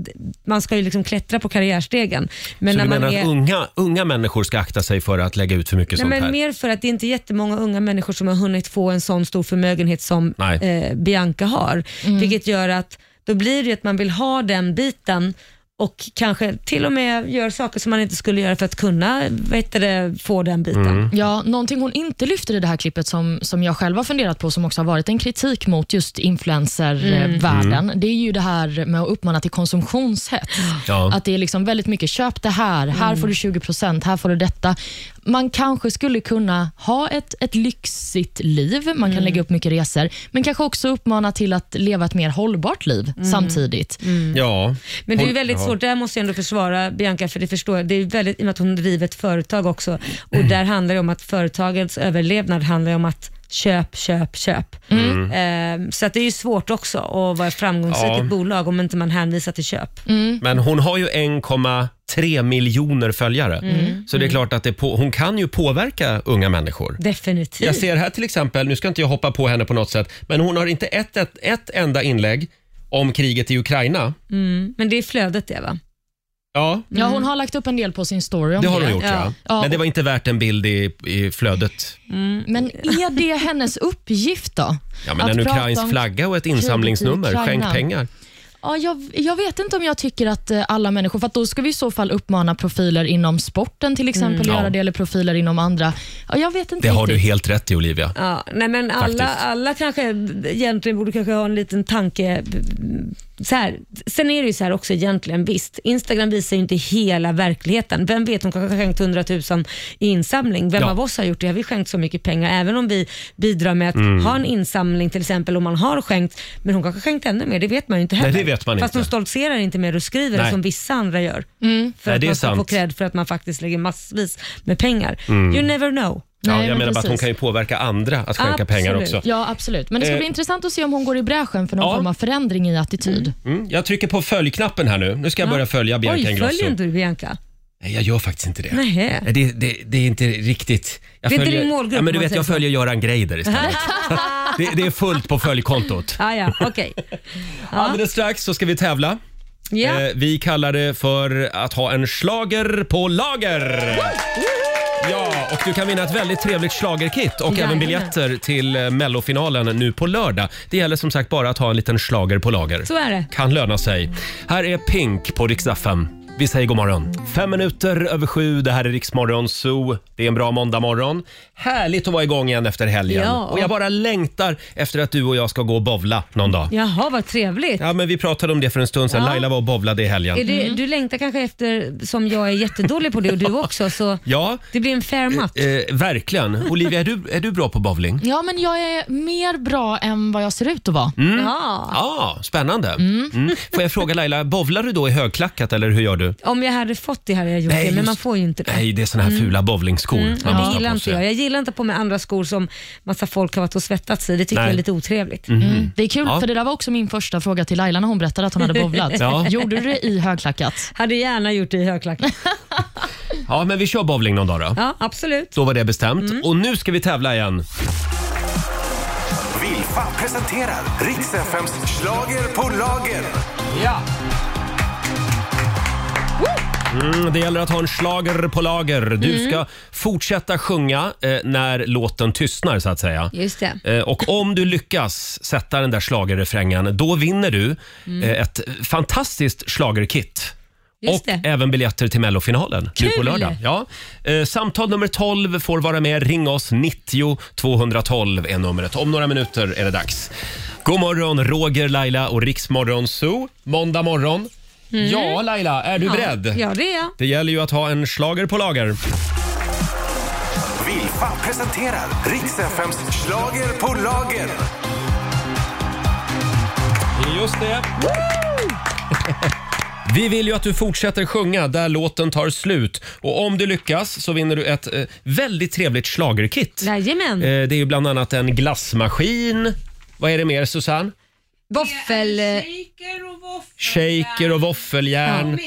S2: man ska ju liksom klättra på karriärstegen. Men
S1: Så
S2: när
S1: du
S2: man
S1: menar
S2: är,
S1: att unga, unga människor ska akta sig för att lägga ut för mycket sånt
S2: Nej,
S1: här?
S2: men mer för att det är inte jättemånga unga människor som har hunnit få en sån stor förmögenhet som
S1: Nej.
S2: eh, Bianca har. Vilket gör att då blir det ju att man vill ha den biten och kanske till och med gör saker som man inte skulle göra för att kunna vad heter det, få den biten.
S1: Mm.
S6: Ja, någonting hon inte lyfter i det här klippet som, som jag själv har funderat på som också har varit en kritik mot just influencervärlden, det är ju det här med att uppmana till konsumtionshets.
S1: Ja. Mm.
S6: Att det är liksom väldigt mycket köp det här, här får du 20%, här får du detta. Man kanske skulle kunna ha ett, ett lyxigt liv, man
S1: Mm.
S6: kan lägga upp mycket resor, men kanske också uppmana till att leva ett mer hållbart liv
S1: Mm.
S6: samtidigt.
S1: Ja.
S2: Men det är ju
S1: Hon-
S2: väldigt
S1: ja.
S2: svårt, där måste jag ändå försvara Bianca för det förstår jag. Det är ju väldigt, i och med att hon driver ett företag också och
S1: Mm.
S2: där handlar det om att företagets överlevnad handlar ju om att köp, köp, köp. Eh, så att det är ju svårt också att vara framgångsrikt
S1: Mm. Ja. Mm.
S2: ett bolag om inte man hänvisar till köp.
S6: Mm.
S1: Men hon har ju 1,3 miljoner följare.
S6: Mm.
S1: Så det är klart att det på, hon kan ju påverka unga människor.
S2: Definitivt.
S1: Jag ser här till exempel, nu ska inte jag hoppa på henne på något sätt, men hon har inte ett, ett, ett enda inlägg om kriget i Ukraina.
S2: Men det är flödet det va?
S1: Ja,
S6: Ja, hon har lagt upp en del på sin story
S1: Mm.
S6: om
S1: det
S6: det.
S1: har hon gjort ja.
S2: Ja.
S6: Ja,
S1: Men det
S6: och-
S1: var inte värt en bild i, i flödet.
S6: Men är det hennes uppgift då?
S1: Ja, men en
S6: Att prata
S1: ukrainsk
S6: om-
S1: flagga och ett insamlingsnummer,
S6: Ukraina.
S1: skänk pengar.
S6: Ja, jag, jag vet inte om jag tycker att eh, alla människor, för att då ska vi i så fall uppmana profiler inom sporten till exempel,
S1: Mm. Ja.
S6: göra det, eller profiler inom andra. Ja, jag vet inte
S1: Det har du
S6: riktigt.
S1: helt rätt i Olivia.
S2: Ja, nej men alla,
S1: Faktiskt.
S2: alla kanske egentligen borde kanske ha en liten tanke så här, sen är det ju så här också egentligen, visst, Instagram visar ju inte hela verkligheten. Vem vet, hon kanske har skänkt 100 000 i insamling. Vem
S1: Ja.
S2: av oss har gjort det? Har vi skänkt så mycket pengar? Även om vi bidrar med att
S1: Mm.
S2: ha en insamling till exempel, om man har skänkt, men hon kanske har skänkt ännu mer, det vet man ju inte
S1: Nej,
S2: heller.
S1: det vet man
S2: Fast
S1: inte.
S2: hon stoltserar inte med det och skriver det
S1: Nej.
S2: som vissa andra gör. För
S1: Nej,
S2: att
S1: det är
S2: man ska få
S1: sant.
S2: cred för att man faktiskt lägger massvis med pengar.
S1: Mm.
S2: You never know.
S1: Ja,
S6: Nej,
S1: jag
S6: men
S1: menar bara att hon
S6: precis.
S1: kan ju påverka andra att skänka pengar också.
S6: Ja, absolut. Men det ska
S1: Eh.
S6: bli intressant att se om hon går i bräschen för någon form av förändring i attityd.
S1: Mm, jag trycker på följknappen här nu. Nu ska jag börja följa Bianca
S2: Oj,
S1: Ingrosso.
S2: följer inte du Bianca?
S1: Nej, jag gör faktiskt inte det.
S2: Nähä.
S1: Nej, Det, det, det är inte riktigt... Jag
S2: Det är inte din målgrupp,
S1: Ja, men du vet,
S2: om man
S1: jag
S2: säger så.
S1: följer Göran Greider istället. det, det är fullt på följkontot.
S2: Ah, ja, okej. Ja.
S1: Alldeles strax så ska vi tävla.
S2: Ja.
S1: Eh, vi kallar det för att ha en slager på lager. Ja, och du kan vinna ett väldigt trevligt slagerkit och även
S6: Jajamän.
S1: biljetter till eh, mellofinalen nu på lördag. Det gäller som sagt bara att ha en liten slager på lager.
S2: Så är det.
S1: Kan löna sig. Här är Pink på Riksaffen. Vi säger god morgon. Fem minuter över sju. Det här är Riksmorgon Zoo. Det är en bra måndagmorgon. Härligt att vara igång igen efter helgen.
S2: Ja.
S1: Och jag bara längtar efter att du och jag ska gå och bovla någon dag.
S2: Jaha, vad trevligt.
S1: Ja, Mm. men vi pratade om det för en stund sedan.
S2: Ja.
S1: Laila var och bovlade i helgen.
S2: Är det, du längtar kanske efter, som jag är jättedålig på det och du också, så
S1: Ja,
S2: det blir en fair match.
S1: eh, verkligen. Olivia, är du, är du bra på bowling?
S6: Ja, men jag är mer bra än vad jag ser ut att vara.
S1: Mm.
S2: Ja.
S1: Ja, spännande. Mm. Får jag fråga Laila, bowlar du då i högklackat eller hur gör du?
S2: Om jag hade fått det hade jag gjort
S1: Nej,
S2: det, men
S1: just-
S2: man får ju inte det.
S1: Nej, det är såna här fula bowlingskor
S2: Mm,
S1: man
S2: det
S1: måste
S2: gillar
S1: ha på
S2: inte jag.
S1: sig.
S2: Jag gillar inte på med andra skor som massa folk har varit och svettats i. Det tycker
S1: Nej. Mhm.
S2: jag är lite otrevligt.
S6: Mm. Det är kul,
S1: Ja.
S6: för det där var också min första fråga till Laila när hon berättade att hon hade bowlat.
S1: Ja.
S6: Gjorde du det i högklackat?
S2: Hade gärna gjort det i högklackat.
S1: Ja, men vi kör bowling någon dag då.
S2: Ja, Mm. absolut.
S1: Då var det bestämt. Och nu ska vi tävla igen.
S7: Vilfa presenterar riks Schlager på lager.
S1: Ja! Mm, det gäller att ha en slager på lager. Du
S2: Mm.
S1: ska fortsätta sjunga eh, när låten tystnar så att säga.
S2: Just det.
S1: Eh, Och om du lyckas sätta den där schlagerrefrängen, då vinner du eh, ett fantastiskt schlagerkit.
S2: Mm. Just
S1: Och
S2: det.
S1: även biljetter till mellofinalen nu på
S2: Kul!
S1: lördag. Ja. Eh, Samtal nummer 12 får vara med. Ring oss. 90 212 är numret. Om några minuter är det dags. God morgon, Roger, Laila och Riksmorgon Zoo. Måndag morgon. Ja, Laila, är du beredd?
S2: Mm. Ja, det är jag.
S1: Det gäller ju att ha en slager på lager.
S7: Vilfa presenterar riks Schlager på lager.
S1: Just det. Vi vill ju att du fortsätter sjunga där låten tar slut. Och om du lyckas så vinner du ett eh, väldigt trevligt schlagerkit. Eh,
S2: Jajamän.
S1: det är ju bland annat en glassmaskin. Vad är det mer Susanne?
S2: Våffel...
S1: Shaker och våffeljärn.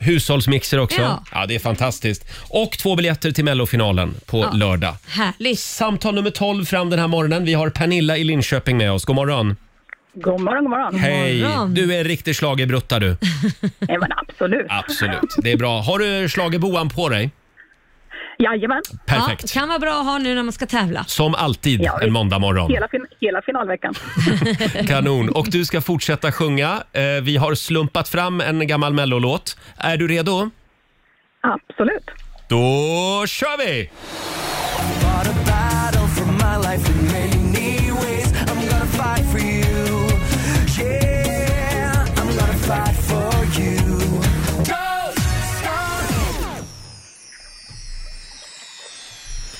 S1: Hushållsmixer också. Ja.
S2: Ja.
S1: det är fantastiskt. Och två biljetter till mellofinalen på lördag.
S2: Härligt.
S1: Samtal nummer 12 fram den här morgonen. Vi har Pernilla i Linköping med oss. God morgon.
S8: God morgon, god morgon.
S1: Hej!
S2: morgon.
S1: Du är en riktig schlagerbrutta du.
S8: Nej, men absolut.
S1: Absolut, det är bra. Har du schlagerboan på dig?
S8: Jajamän.
S1: Perfekt.
S2: Ja, kan vara bra att ha nu när man ska tävla.
S1: Som alltid
S8: Ja,
S1: en måndag morgon.
S8: Hela, fin- hela finalveckan.
S1: Kanon. Och du ska fortsätta sjunga. Eh, Vi har slumpat fram en gammal mellolåt. Är du redo?
S8: Absolut.
S1: Då kör vi!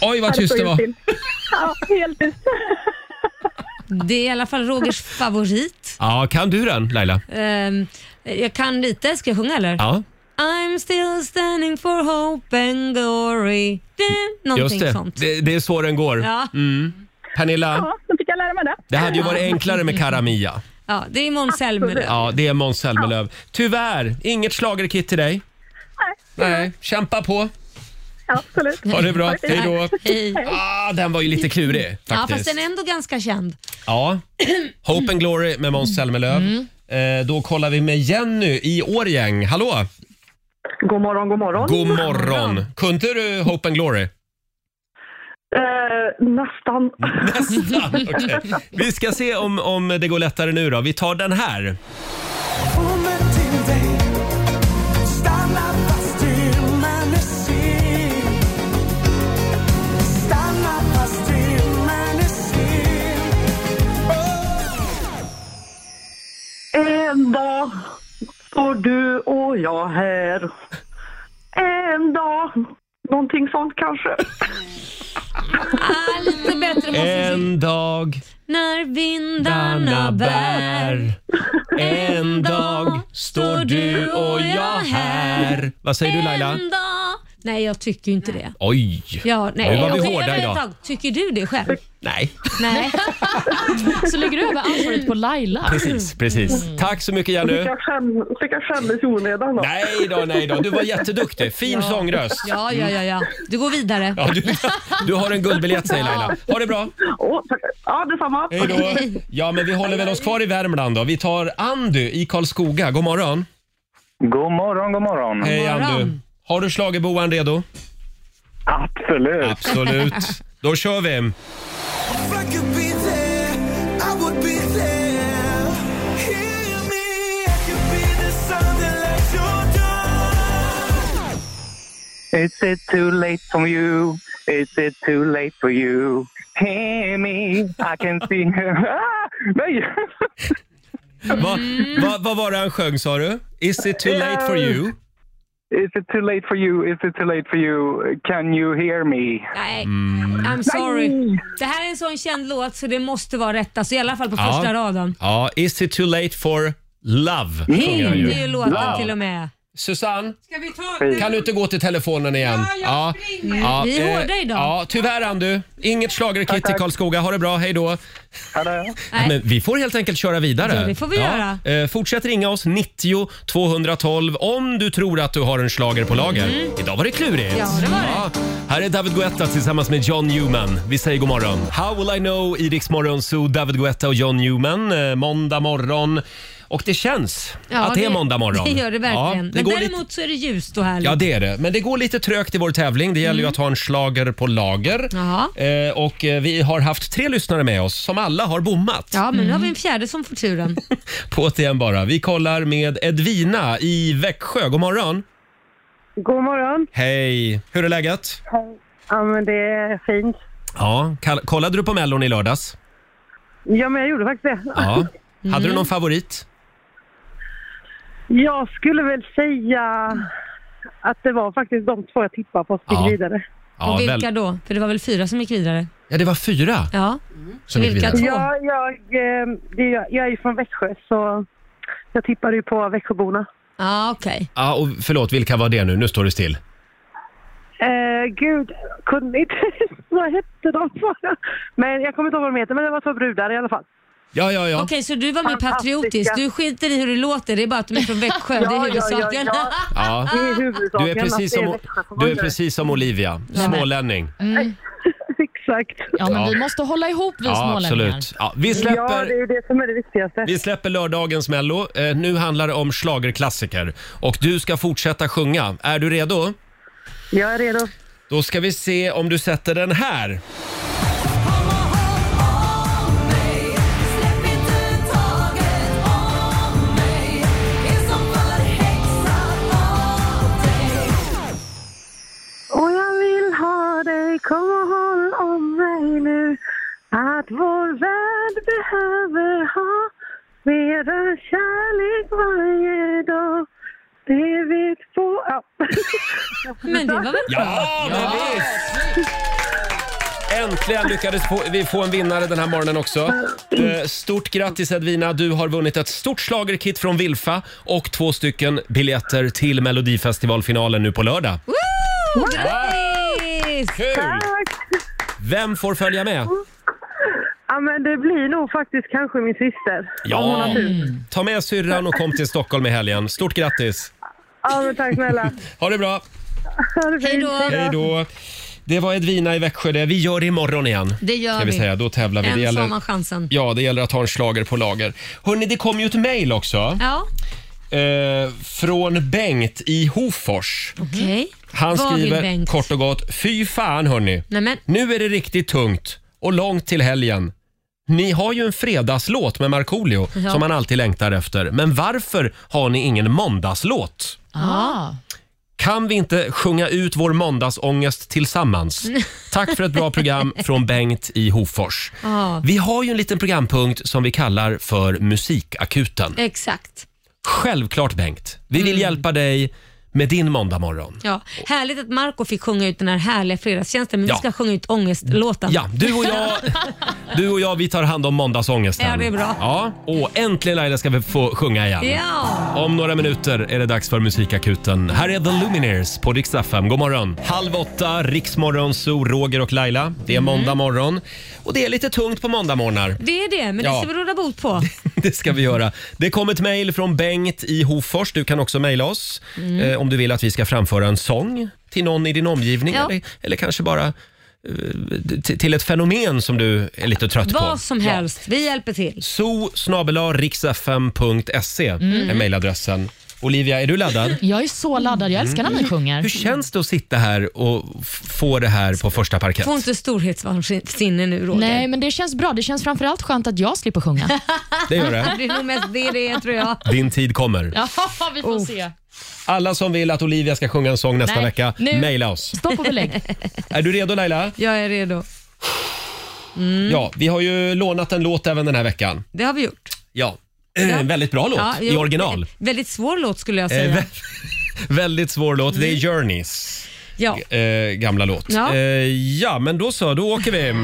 S1: Oj, vad tyst det var.
S8: Ja, helt tyst.
S2: Det är i alla fall Rogers favorit.
S1: Ja, kan du den, Laila?
S2: Ehm, jag kan lite. Ska jag sjunga eller?
S1: Ja,
S2: I'm still standing for hope and glory. Det- Någonting
S1: just det. Mm.
S2: sånt.
S1: det. Det är så den går.
S2: Ja,
S1: Pernilla,
S8: Ja, då fick jag lära mig det.
S1: det hade ju varit enklare med Karamia.
S2: ja, det är Måns Zelmerlöw.
S1: Ja, det är Måns Zelmerlöw. Tyvärr, inget schlagerkit till dig. Nej. Kämpa på.
S8: Absolut.
S1: Ha det bra. Hej då.
S2: Hej.
S1: Ah, den var ju lite klurig
S2: Ja,
S1: faktiskt.
S2: fast den är ändå ganska känd.
S1: Ja. Hope and Glory med Måns Zelmerlöw.
S2: Mm.
S1: Eh, då kollar vi med Jenny i Årjäng. Hallå!
S8: God morgon, god morgon.
S1: God morgon! Kunde du Hope and Glory?
S8: Eh, nästan.
S1: Nästan! Okej. Vi ska se om, om det går lättare nu då. Vi tar den här.
S8: Eh,
S7: Oh,
S10: En dag står du och jag här. En dag. Någonting sånt kanske.
S2: Ah, lite bättre måste vi...
S1: En dag
S2: När vindarna
S1: Danna
S2: bär.
S1: bär. En dag står du och jag här. Vad säger du Laila?
S2: En dag. Nej, jag tycker ju inte det.
S1: Oj!
S2: Ja, nej.
S1: Nu var vi
S2: Okej,
S1: hårda
S2: vänta ett
S1: idag.
S2: tag. Tycker du det själv?
S1: Nej.
S2: Nej.
S6: Så lägger du över ansvaret på Laila.
S1: Precis, precis. Tack så mycket Jenny.
S10: Fick jag skämmas i onödan då?
S1: Nej då, nej då. Du var jätteduktig. Fin sångröst.
S2: Ja, ja, ja, ja. Du går vidare.
S1: Ja, du, du har en guldbiljett säger Laila. Ha det bra.
S10: Åh, tack. Ja, detsamma.
S1: Hej då. Ja, men vi håller väl oss kvar i Värmland då. Vi tar Andy i Karlskoga. God morgon.
S7: God morgon, god morgon.
S1: Hej Andy. Har du schlagerboan redo?
S7: Absolut.
S1: Absolut. Då kör vi.
S7: Is it too late for you? Is it too late for you? Hear me, I can see her. Ah, nej!
S1: Vad
S2: Mm.
S1: va, vad var det han sjöng sa du? Is it too late for you?
S7: Is it too late for you? Is it too late for you? Can you hear me?
S2: Nej,
S1: Mm.
S2: I'm sorry. Det här är en sån känd låt så det måste vara rätt. Alltså, I alla fall på
S1: Ja.
S2: första raden.
S1: Ja, Is it too late for love? sjunger han
S2: Det är ju låten till och med.
S1: Susanne,
S2: Ska vi
S1: kan du inte gå till telefonen igen? Ja,
S2: springer. Vi är
S1: eh,
S2: hårda idag.
S1: Ja, tyvärr Andu. Inget schlagerkit i Karlskoga. Ha det bra, hej då. Men vi får helt enkelt köra vidare.
S2: Ja, det får vi
S1: göra. Eh, fortsätt ringa oss, 90 212, om du tror att du har en schlager på lager. Idag var det klurigt.
S2: Mm. Ja, det var det.
S1: Här är David Guetta tillsammans med John Newman. Vi säger god morgon. How will I know i Rix Morgon Zoo, David Guetta och John Newman. Eh, måndag morgon. Och det känns
S2: Ja,
S1: att det, är måndag morgon.
S2: Det gör det verkligen.
S1: Ja, det
S2: Men
S1: går
S2: däremot
S1: lite,
S2: så är det ljust och härligt.
S1: ja, det är det. Men det går lite trögt i vår tävling. Det gäller
S2: Mm.
S1: ju att ha en slager på lager.
S2: Jaha.
S1: Eh, och eh, vi har haft tre lyssnare med oss som alla har bommat.
S2: Ja, men nu
S1: Mm.
S2: har vi en fjärde som får turen.
S1: På ett igen bara. Vi kollar med Edvina i Växjö. God morgon.
S8: God morgon.
S1: Hej. Hur är läget?
S8: Ja, men det är fint.
S1: Ja, kall- kollade du på Mellon i lördags?
S8: Ja, men jag gjorde faktiskt det.
S1: Ja.
S2: Mm.
S1: Hade du någon favorit?
S8: Jag skulle väl säga att det var faktiskt de två jag tippade på som gick
S1: Ja.
S8: vidare.
S1: Ja,
S2: och vilka
S1: väl-
S2: då? För det var väl fyra som gick vidare?
S1: Ja, det var fyra.
S2: Ja.
S1: Som gick
S8: vilka
S1: vidare.
S8: två? Ja, jag, eh, det, jag, jag är ju från Växjö, så jag tippade ju på Växjöborna.
S2: Ja, okej.
S1: Ja, och förlåt, vilka var det nu? Nu står det still.
S8: Eh, gud, kunde inte... vad hette de? men jag kommer inte ihåg vad de heter, men det var två brudar i alla fall.
S1: Ja, ja, ja.
S2: Okej, så du var mer patriotisk. Du skiter i hur det låter, det är bara att de är från Växjö. det är
S8: Ja, ja, ja,
S2: huvudsaken.
S8: ja.
S1: Ja.
S8: Det är
S1: Du
S8: huvudsaken
S1: är precis
S8: att det är
S1: som,
S8: Växjö som
S1: du är
S8: vinner.
S1: precis som Olivia,
S8: Ja.
S1: smålänning.
S8: Exakt.
S6: Ja, men
S1: Ja.
S6: vi måste hålla ihop vi
S1: Ja,
S6: smålänningar.
S1: absolut. Ja, vi släpper-
S8: Ja, det är ju det som är det viktigaste.
S1: Vi släpper lördagens Mello. Eh, nu handlar det om schlagerklassiker. Och du ska fortsätta sjunga. Är du redo?
S8: Jag är redo.
S1: Då ska vi se om du sätter den här.
S8: Och jag vill ha dig, kom och håll om mig nu. Att vår värld behöver ha mera kärlek varje dag. Det vet på... Ja.
S2: Men det var väl
S1: Ja, men visst! Äntligen lyckades få, vi få en vinnare den här morgonen också. Eh, Stort grattis Edvina, du har vunnit ett stort schlagerkit från Wilfa och två stycken biljetter till Melodifestivalfinalen nu på lördag.
S2: Woo! Grattis!
S1: Kul! Vem får följa med?
S8: ja, men det blir nog faktiskt kanske min syster. Om hon har tur.
S1: Ta med syrran och kom till Stockholm i helgen. Stort grattis!
S8: Ja, men tack snälla.
S1: Ha det bra!
S8: Ha det fint.
S2: Hej då.
S1: Hej då! Det var Edvina i Växjö det. Vi gör det imorgon igen.
S2: Det gör
S1: kan vi.
S2: vi.
S1: Säga. Då tävlar vi. Det
S2: Än så har
S1: gäller,
S2: man chansen.
S1: ja, det gäller att ha en slager på lager. Hörni, det kom ju ett mejl också.
S2: Ja,
S1: Eh, från Bengt i Hofors.
S2: okej.
S1: Han
S2: Vad vill
S1: skriver
S2: Bengt?
S1: kort och gott, fy fan hörni.
S2: Nej, men.
S1: Nu är det riktigt tungt och långt till helgen. Ni har ju en fredagslåt med Markoolio
S2: Ja.
S1: som man alltid längtar efter. Men varför har ni ingen måndagslåt?
S6: Ah.
S1: Kan vi inte sjunga ut vår måndagsångest tillsammans? Tack för ett bra program från Bengt i Hofors.
S2: Ja,
S1: Vi har ju en liten programpunkt som vi kallar för Musikakuten.
S2: exakt.
S1: Självklart Bengt, vi
S2: Mm.
S1: vill hjälpa dig med din måndagmorgon.
S2: Ja. Härligt att Marco fick sjunga ut den här härliga fredagstjänsten, men
S1: Ja.
S2: vi ska sjunga ut ångestlåten.
S1: Ja, du och jag, du och jag vi tar hand om måndagsångesten.
S2: Ja, det är bra.
S1: Ja, och äntligen Laila ska vi få sjunga igen.
S2: Ja.
S1: Om några minuter är det dags för Musikakuten. Här är The Lumineers på Rix FM. God morgon! Halv åtta, Riksmorgon, Zoo, Roger och Laila. Det
S2: Mm.
S1: är måndag morgon och det är lite tungt på måndagmorgnar.
S2: Det är det, men
S1: Ja.
S2: det ska vi råda bot på.
S1: Det ska vi göra. Det kom ett mejl från Bengt i Hofors. Du kan också mejla oss
S2: Mm.
S1: eh, om du vill att vi ska framföra en sång till någon i din omgivning
S2: Ja.
S1: eller, eller kanske bara eh, t- till ett fenomen som du är lite trött på.
S2: Vad som helst, vi hjälper till.
S1: so riksfm.se är
S6: Mm.
S1: mejladressen. Olivia, är du laddad?
S6: Jag är så laddad. Jag älskar när ni
S1: Mm.
S6: sjunger.
S1: Hur känns det att sitta här och f- få det här på första parkett?
S2: Få inte storhetsvansinne nu Roger.
S6: Nej, men det känns bra. Det känns framförallt skönt att jag slipper sjunga.
S1: Det gör det.
S2: Det är nog mest det det är tror jag.
S1: Din tid kommer.
S6: Ja, vi får se.
S1: Alla som vill att Olivia ska sjunga en sång nästa
S2: Nej,
S1: vecka,
S2: nu.
S1: mejla oss.
S6: Stopp och belägg.
S1: Är du redo Laila?
S2: Jag är redo. Mm.
S1: Ja, vi har ju lånat en låt även den här veckan.
S2: Det har vi gjort.
S1: Ja, en väldigt bra låt
S2: Ja,
S1: i
S2: jo,
S1: original.
S2: Väldigt svår låt skulle jag
S1: Eh,
S2: säga.
S1: vä- väldigt svår låt. Det är Journeys
S2: Ja.
S1: eh, gamla låt.
S2: Ja.
S1: Eh, Mm. ja, men då så, då åker vi.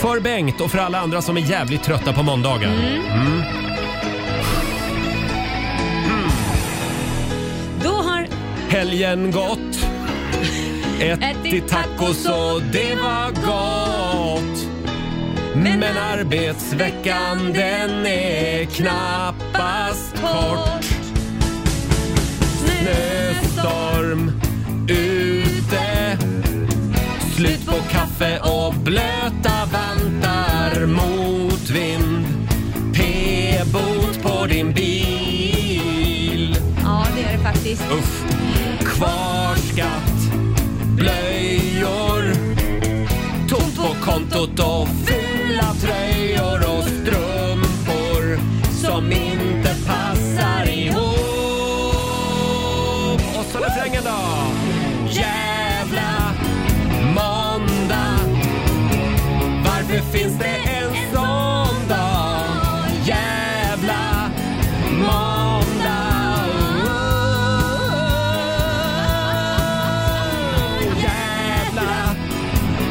S1: För Bengt och för alla andra som är jävligt trötta på måndagar. Mm.
S2: Då har
S1: Helgen gått. Ätit tacos och det var gott. Men arbetsveckan den är knappast kort. Snöstorm ute. Slut på kaffe och blöta vantar. Motvind. P-bot på din bil.
S2: Ja, det är det faktiskt.
S1: Uff. Kvarskatt, blöjor, tomt på kontot och fula tröjor och strumpor som inte passar ihop. Och så refrängen då. Jävla måndag. Varför finns det en sån dag? Jävla måndag. Jävla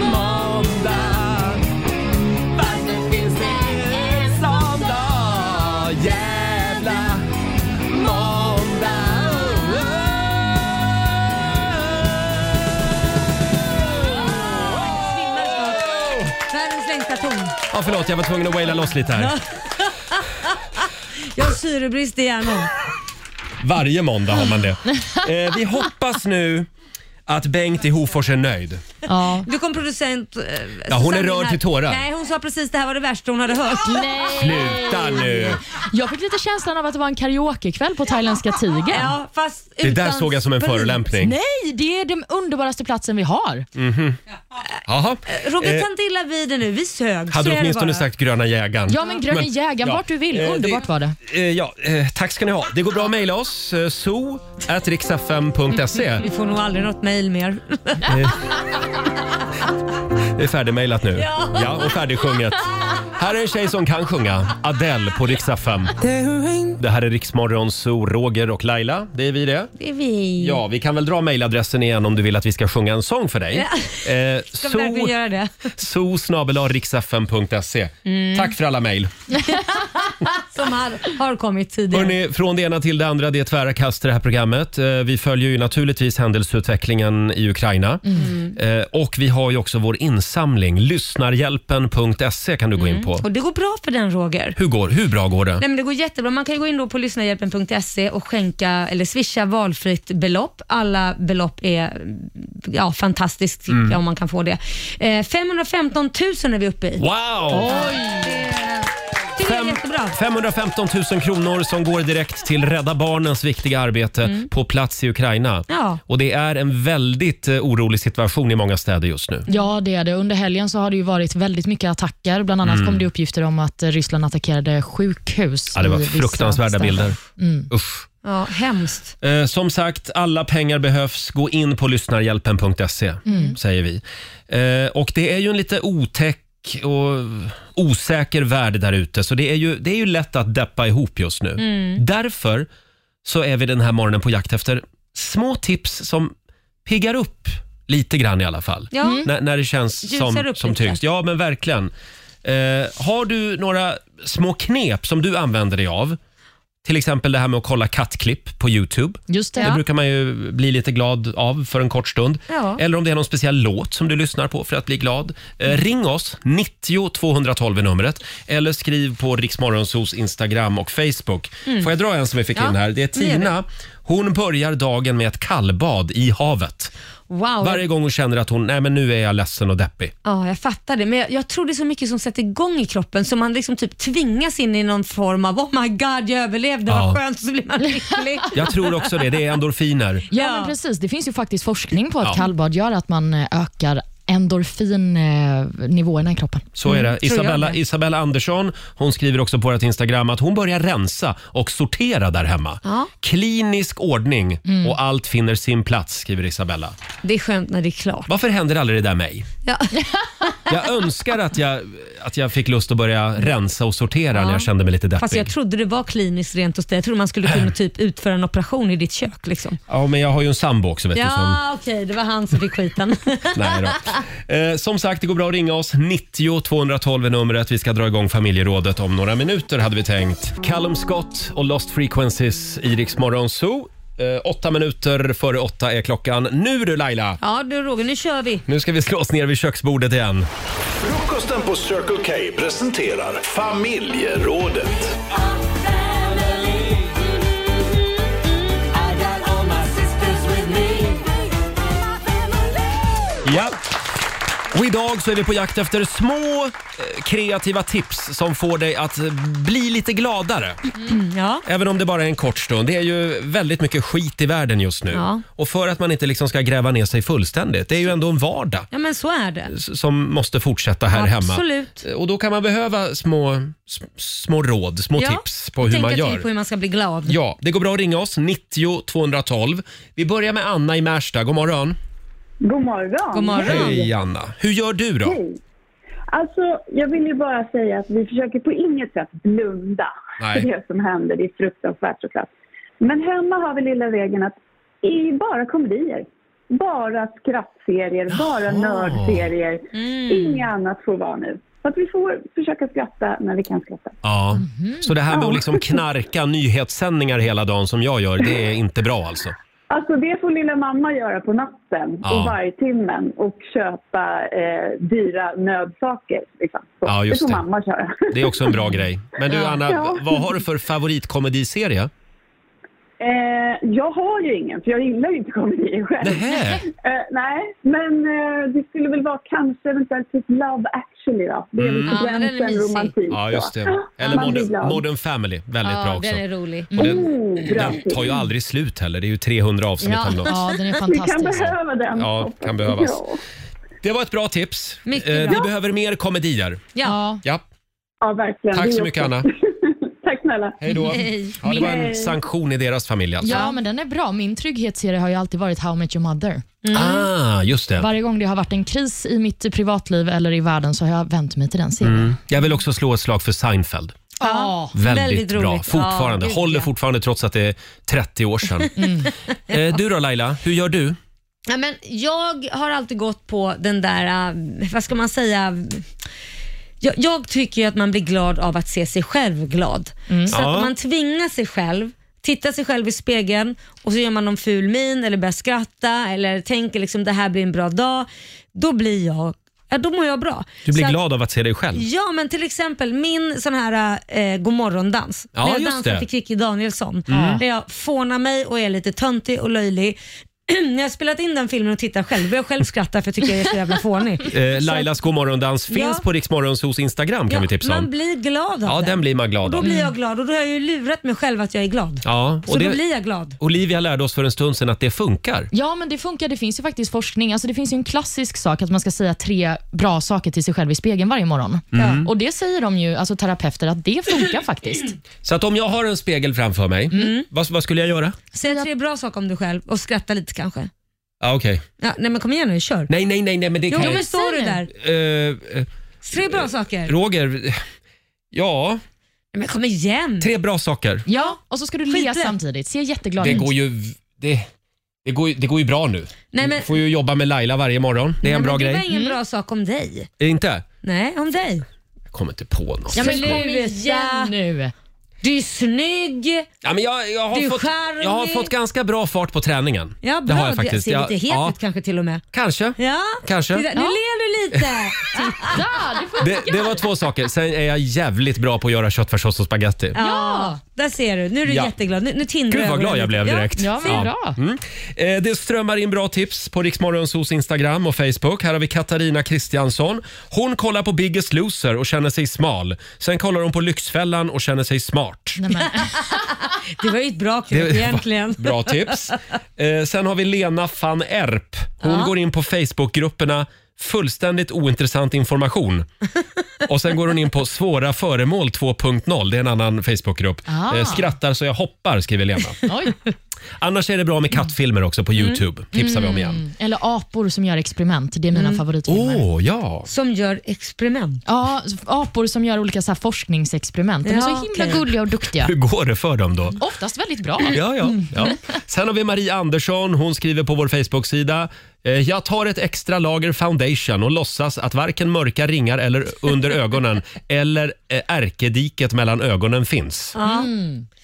S1: måndag. Varför finns det en sån dag? Jävla måndag.
S2: Världens längsta ton.
S1: Ja, förlåt, jag var tvungen att waila loss lite här.
S2: Jag har syrebrist i hjärnan.
S1: Varje måndag har man det. Eh, vi hoppas nu att Bengt i Hofors är nöjd.
S2: Du kom producent... eh,
S1: Ja, hon är
S2: Susanne
S1: rörd
S2: här.
S1: till tårar. Ah!
S2: Nej, hon sa precis det här var det värsta hon hade hört.
S6: Nej.
S1: Sluta nu!
S6: Jag fick lite känslan av att det var en karaokekväll på thailändska tigern.
S2: Ja, fast
S1: Det där utan såg jag som en sprit. förolämpning.
S6: Nej, det är den underbaraste platsen vi har.
S1: Mhm. Jaha.
S2: Roger,
S1: Eh,
S2: ta inte illa vid dig nu. Vi sög.
S1: hade
S2: Så
S1: du
S2: är det
S1: åtminstone
S2: bara.
S1: sagt gröna jägaren.
S6: Ja, men gröna jägaren, vart du vill. Underbart
S1: det,
S6: var det.
S1: Eh, ja, eh, tack ska ni ha. Det går bra att mejla oss. Eh, so.riksfm.se
S2: Vi får nog aldrig något mejl mer.
S1: Det är färdigmejlat nu.
S2: Ja.
S1: Ja, och färdigsjunget. Här är en tjej som kan sjunga. Adele på Riksfm. Det här är Riksmorgon, Zoo, Roger och Laila. Det är vi det.
S2: Det är vi.
S1: Ja, vi kan väl dra mejladressen igen om du vill att vi ska sjunga en sång för dig.
S2: Ja.
S1: Eh,
S2: Ska vi verkligen göra det?
S1: so, so
S2: Mm.
S1: Tack för alla mejl.
S2: Som har, har kommit tidigare.
S1: Hörrni, från det ena till det andra, det är tvära kast i det här programmet. Eh, Vi följer ju naturligtvis händelseutvecklingen i Ukraina.
S2: Mm.
S1: Eh, Och vi har ju också vår insamling, lyssnarhjälpen.se kan du gå in på.
S2: Och det går bra för den Roger.
S1: Hur, går, hur bra går det?
S2: Mm. Nej, men det går jättebra. Man kan gå in då på lyssnarhjälpen.se och skänka eller swisha valfritt belopp. Alla belopp är ja, fantastiskt tycker
S11: Mm.
S2: jag, om man kan få det. Eh, 515 000 är vi uppe i.
S1: Wow!
S2: Det tycker jag är jättebra.
S1: 515 000 kronor som går direkt till Rädda Barnens viktiga arbete
S2: Mm.
S1: på plats i Ukraina.
S6: Ja.
S1: Och det är en väldigt eh, orolig situation i många städer just nu.
S6: Ja, det är det. Under helgen så har det ju varit väldigt mycket attacker. Bland annat
S1: Mm.
S6: kom det uppgifter om att eh, Ryssland attackerade sjukhus.
S1: Ja, det var
S6: i vissa
S1: fruktansvärda
S6: städer.
S1: bilder.
S6: Mm.
S1: Usch.
S2: Ja, hemskt.
S1: Eh, som sagt, alla pengar behövs. Gå in på lyssnarhjälpen.se,
S2: Mm.
S1: säger vi. Eh, och det är ju en lite otäck och osäker värld där ute, så det är, ju, det är ju lätt att deppa ihop just nu.
S11: Mm.
S1: Därför så är vi den här morgonen på jakt efter små tips som piggar upp lite grann i alla fall.
S11: Ja. Mm.
S1: När, när det känns
S11: Ljusar
S1: som,
S11: upp
S1: som
S11: lite.
S1: tyngst. Ja, men verkligen. Eh, har du några små knep som du använder dig av? Till exempel det här med att kolla kattklipp på Youtube.
S6: Just det.
S1: det
S6: Ja.
S1: brukar man ju bli lite glad av för en kort stund.
S6: Ja.
S1: Eller om det är någon speciell låt som du lyssnar på för att bli glad. Eh, ring oss, 90 212 är numret. Eller skriv på Riksmorgonsos Instagram och Facebook.
S11: Mm.
S1: Får jag dra en som vi fick
S11: Ja,
S1: in här? Det är
S11: det gör
S1: Tina. Hon börjar dagen med ett kallbad i havet.
S2: Wow.
S1: Varje gång hon känner att hon, nej men nu är jag ledsen och deppig.
S2: Ja, jag fattar det. Men jag, jag tror det är så mycket som sätter igång i kroppen så man liksom typ tvingas in i någon form av oh my god, jag överlevde,
S1: Ja.
S2: vad skönt, så blir man lycklig.
S1: Jag tror också det, det är endorfiner.
S6: Ja, men precis. Det finns ju faktiskt forskning på att
S1: Ja.
S6: kallbad gör att man eh, ökar endorfinnivåerna i kroppen.
S1: Så är det.
S6: Mm, tror jag
S1: Isabella,
S6: det.
S1: Isabella Andersson hon skriver också på vårt Instagram att hon börjar rensa och sortera där hemma.
S2: Ja.
S1: Klinisk ordning
S2: Mm.
S1: och allt finner sin plats, skriver Isabella.
S2: Det är skönt när det är klart.
S1: Varför händer aldrig det där mig?
S2: Ja.
S1: Jag önskar att jag, att jag fick lust att börja rensa och sortera när jag kände mig lite
S2: Fast
S1: deppig.
S2: jag trodde det var kliniskt rent hos dig. Jag trodde man skulle kunna typ utföra en operation i ditt kök. Liksom.
S1: Ja, men jag har ju en sambo också vet du som...
S2: Ja, okej, det var han som fick skiten.
S1: Nej då. Eh, som sagt, det går bra att ringa oss. 90 212 är numret. Vi ska dra igång familjerådet om några minuter hade vi tänkt. Callum Scott och Lost Frequencies i Rix Morgon Zoo. Eh, åtta minuter före åtta är klockan. Nu du Laila!
S2: Ja du Roger, nu kör vi.
S1: Nu ska vi slå oss ner vid köksbordet igen.
S7: Frukosten på Circle K presenterar familjerådet.
S1: Ja. Och idag så är vi på jakt efter små eh, kreativa tips som får dig att eh, bli lite gladare.
S2: Mm. Ja.
S1: Även om det bara är en kort stund. Det är ju väldigt mycket skit i världen just nu.
S2: Ja.
S1: Och för att man inte liksom ska gräva ner sig fullständigt. Det är ju ändå en vardag
S2: ja, men så är det.
S1: s- som måste fortsätta här hemma. Eh,
S2: Absolut.
S1: Och då kan man behöva små, s- små råd, små
S2: Ja,
S1: tips på hur man
S2: Tänka
S1: gör.
S2: till på hur man ska bli glad.
S1: Ja, det går bra att ringa oss, 90 212. Vi börjar med Anna i Märsta. God morgon.
S12: God morgon.
S1: Hej Anna. Hur gör du då?
S12: Hej. Alltså, jag vill ju bara säga att vi försöker på inget sätt blunda
S1: Nej.
S12: för det som händer. Det är fruktansvärt såklart. Men hemma har vi lilla regeln att i bara komedier. Bara skrattserier, bara nördserier. Inget annat får vara nu. Så att vi får försöka skratta när vi kan skratta.
S1: Ja. Så det här med att
S12: Mhm. Ja.
S1: liksom knarka nyhetssändningar hela dagen som jag gör, det är inte bra alltså?
S12: Alltså det får lilla mamma göra på natten
S1: Ja.
S12: och varje timmen och köpa eh, dyra nödsaker. Liksom. Så,
S1: Ja, just
S12: det får
S1: det.
S12: mamma köra.
S1: Det är också en bra grej. Men du
S12: Mm. Ja.
S1: Anna,
S12: Ja.
S1: vad har du för favoritkomediserie?
S12: Eh, jag har ju ingen, för jag gillar ju inte komedier själv. Eh, nej, men eh, det skulle väl vara kanske eventuellt typ Love actually då. Det är väl
S1: Mm.
S12: på
S1: Ja, men den är
S12: gränsen
S1: mysig.
S12: romantik.
S1: Ja,
S12: då. Ah,
S1: just det. Eller
S12: Man blir
S1: Modern,
S12: glad.
S1: Modern Family, väldigt
S2: ja,
S1: bra också. Mm.
S2: den är rolig.
S1: Och den,
S12: Oh, bra
S1: den tar ju
S12: film.
S1: aldrig slut heller. Det är ju 300 avsnitt
S2: Ja.
S1: eller något.
S2: Ja, den är
S12: Vi
S2: fantastisk.
S12: kan behöva den.
S1: Ja,
S12: hoppas
S1: kan
S12: jag.
S1: behövas. Det var ett bra tips.
S12: Mycket
S1: Eh, Vi
S12: bra.
S1: behöver mer komedier.
S2: Ja.
S1: Ja,
S12: Ja, verkligen.
S1: tack
S12: Vi
S1: så
S12: också.
S1: mycket Anna.
S12: Tack snälla.
S1: Hej då. Ja, det var en
S6: Hej.
S1: sanktion i deras familj alltså.
S6: Ja, men den är bra. Min trygghetsserie har ju alltid varit How I Met Your Mother.
S1: Ah, just det.
S6: Varje gång det har varit en kris i mitt privatliv eller i världen så har jag vänt mig till den serien.
S1: Mm. Jag vill också slå ett slag för Seinfeld.
S6: Ja,
S1: Väldigt, bra. Fortfarande.
S6: Ja, gud,
S1: Håller
S6: ja.
S1: fortfarande trots att det är 30 år sedan.
S2: Mm.
S1: Eh, Du då Laila, hur gör du?
S2: Ja, men jag har alltid gått på den där, eh, vad ska man säga, jag, jag tycker ju att man blir glad av att se sig själv glad.
S1: Mm.
S2: Så att
S11: Ja.
S2: om man tvingar sig själv, tittar sig själv i spegeln och så gör man någon ful min eller börjar skratta eller tänker liksom det här blir en bra dag. Då blir jag, ja, då mår jag bra.
S1: Du blir
S2: Så att-
S1: glad av att se dig själv?
S2: Ja, men till exempel min sån här eh, godmorgondans.
S1: Ja,
S2: när jag
S1: just
S2: dansar
S1: det.
S2: till Kikki Danielsson.
S1: Mm.
S2: När jag fånar mig och är lite töntig och löjlig. när jag spelat in den filmen och tittar själv, börjar jag själv skratta för jag tycker jag är så jävla fånig.
S1: Eh, Lailas Godmorgondans finns
S2: Ja.
S1: på Riksmorgonsos Instagram kan vi tipsa
S2: Man
S1: om.
S2: blir glad av
S1: Ja, den blir man glad
S2: Då
S1: av. Mm.
S2: blir jag glad och då har jag ju lurat mig själv att jag är glad.
S1: Ja,
S2: Så då blir jag glad.
S1: Olivia lärde oss för en stund sedan att det funkar.
S6: Ja, men det funkar. Det finns ju faktiskt forskning. Alltså, det finns ju en klassisk sak att man ska säga tre bra saker till sig själv i spegeln varje morgon.
S1: Mm.
S6: Och Det säger de ju, alltså terapeuter, att det funkar faktiskt.
S1: Så att om jag har en spegel framför mig,
S2: Mm.
S1: vad, vad skulle jag göra?
S2: Säg tre bra saker om dig själv och skratta lite kanske.
S1: Ja, okej.
S2: Ja, nej men kom igen nu, kör.
S1: Nej, nej, nej, nej, men det
S2: Jo,
S1: kan
S2: men står du där.
S1: Eh, eh,
S2: Tre bra saker.
S1: Roger, eh, ja.
S2: Men kom igen.
S1: Tre bra saker.
S6: Ja, och så ska du le
S2: Skitlätt.
S6: samtidigt. Se jätteglad
S1: Det
S6: ut.
S1: går ju... Det, det, går, ju- det går ju bra nu.
S2: Nej, men-
S1: Du får ju jobba med Laila varje morgon. Det är en
S2: Nej,
S1: bra
S2: men
S1: grej.
S2: Det var ingen bra sak om dig.
S1: Inte?
S2: Nej, om dig.
S1: Jag kommer inte på något.
S2: Ja, men
S6: Kom
S2: sluta.
S6: igen nu.
S2: Du är snygg.
S1: Ja, men jag, jag,
S2: Du
S1: har
S2: är
S1: fått, jag har
S2: charmig.
S1: fått ganska bra fart på träningen.
S2: Ja, bra.
S1: Det har jag faktiskt.
S2: Ser
S1: Jag-
S2: lite het
S1: ja.
S2: ut kanske till och med.
S1: Kanske.
S2: Ja,
S1: Kanske.
S2: Titta, nu
S1: Ja.
S2: ler du lite.
S6: Titta, det
S1: Det, det var två saker. Sen är jag jävligt bra på att göra köttfärssås och spagetti.
S2: Ja, där ser du. Nu är du
S1: Ja.
S2: jätteglad. Nu, nu tindrar
S1: Gud vad
S2: ögonen
S1: glad jag
S2: lite.
S1: blev direkt.
S2: Ja, ja, bra.
S1: Mm. Eh, Det strömmar in bra tips på Riksmorgonsos Instagram och Facebook. Här har vi Katarina Kristiansson. Hon kollar på Biggest Loser och känner sig smal. Sen kollar hon på Lyxfällan och känner sig smart.
S2: Det var ju ett bra klipp
S1: var
S2: egentligen.
S1: Bra tips. Eh, Sen har vi Lena van Erp. Hon
S2: Ja.
S1: går in på Facebookgrupperna Fullständigt ointressant information. Och Sen går hon in på Svåra föremål 2.0. Det är en annan Facebookgrupp.
S6: Ah.
S1: Eh, Skrattar så jag hoppar, skriver Lena.
S6: Oj.
S1: Annars är det bra med kattfilmer också
S2: Mm.
S1: på Youtube. Tipsar vi om igen.
S6: Mm. Eller apor som gör experiment. Det är mina
S2: Mm.
S6: favoritfilmer.
S1: Åh, ja.
S2: Som gör experiment?
S6: Ja, apor som gör olika så här forskningsexperiment. De är
S2: Ja,
S6: så himla
S2: okej.
S6: gulliga och duktiga.
S1: Hur går det för dem då?
S6: Oftast väldigt bra.
S1: Ja, ja,
S2: Mm.
S1: ja. Sen har vi Marie Andersson. Hon skriver på vår Facebook-sida. eh, Jag tar ett extra lager foundation och låtsas att varken mörka ringar eller under ögonen eller eh, ärkediket mellan ögonen finns.
S2: Ja.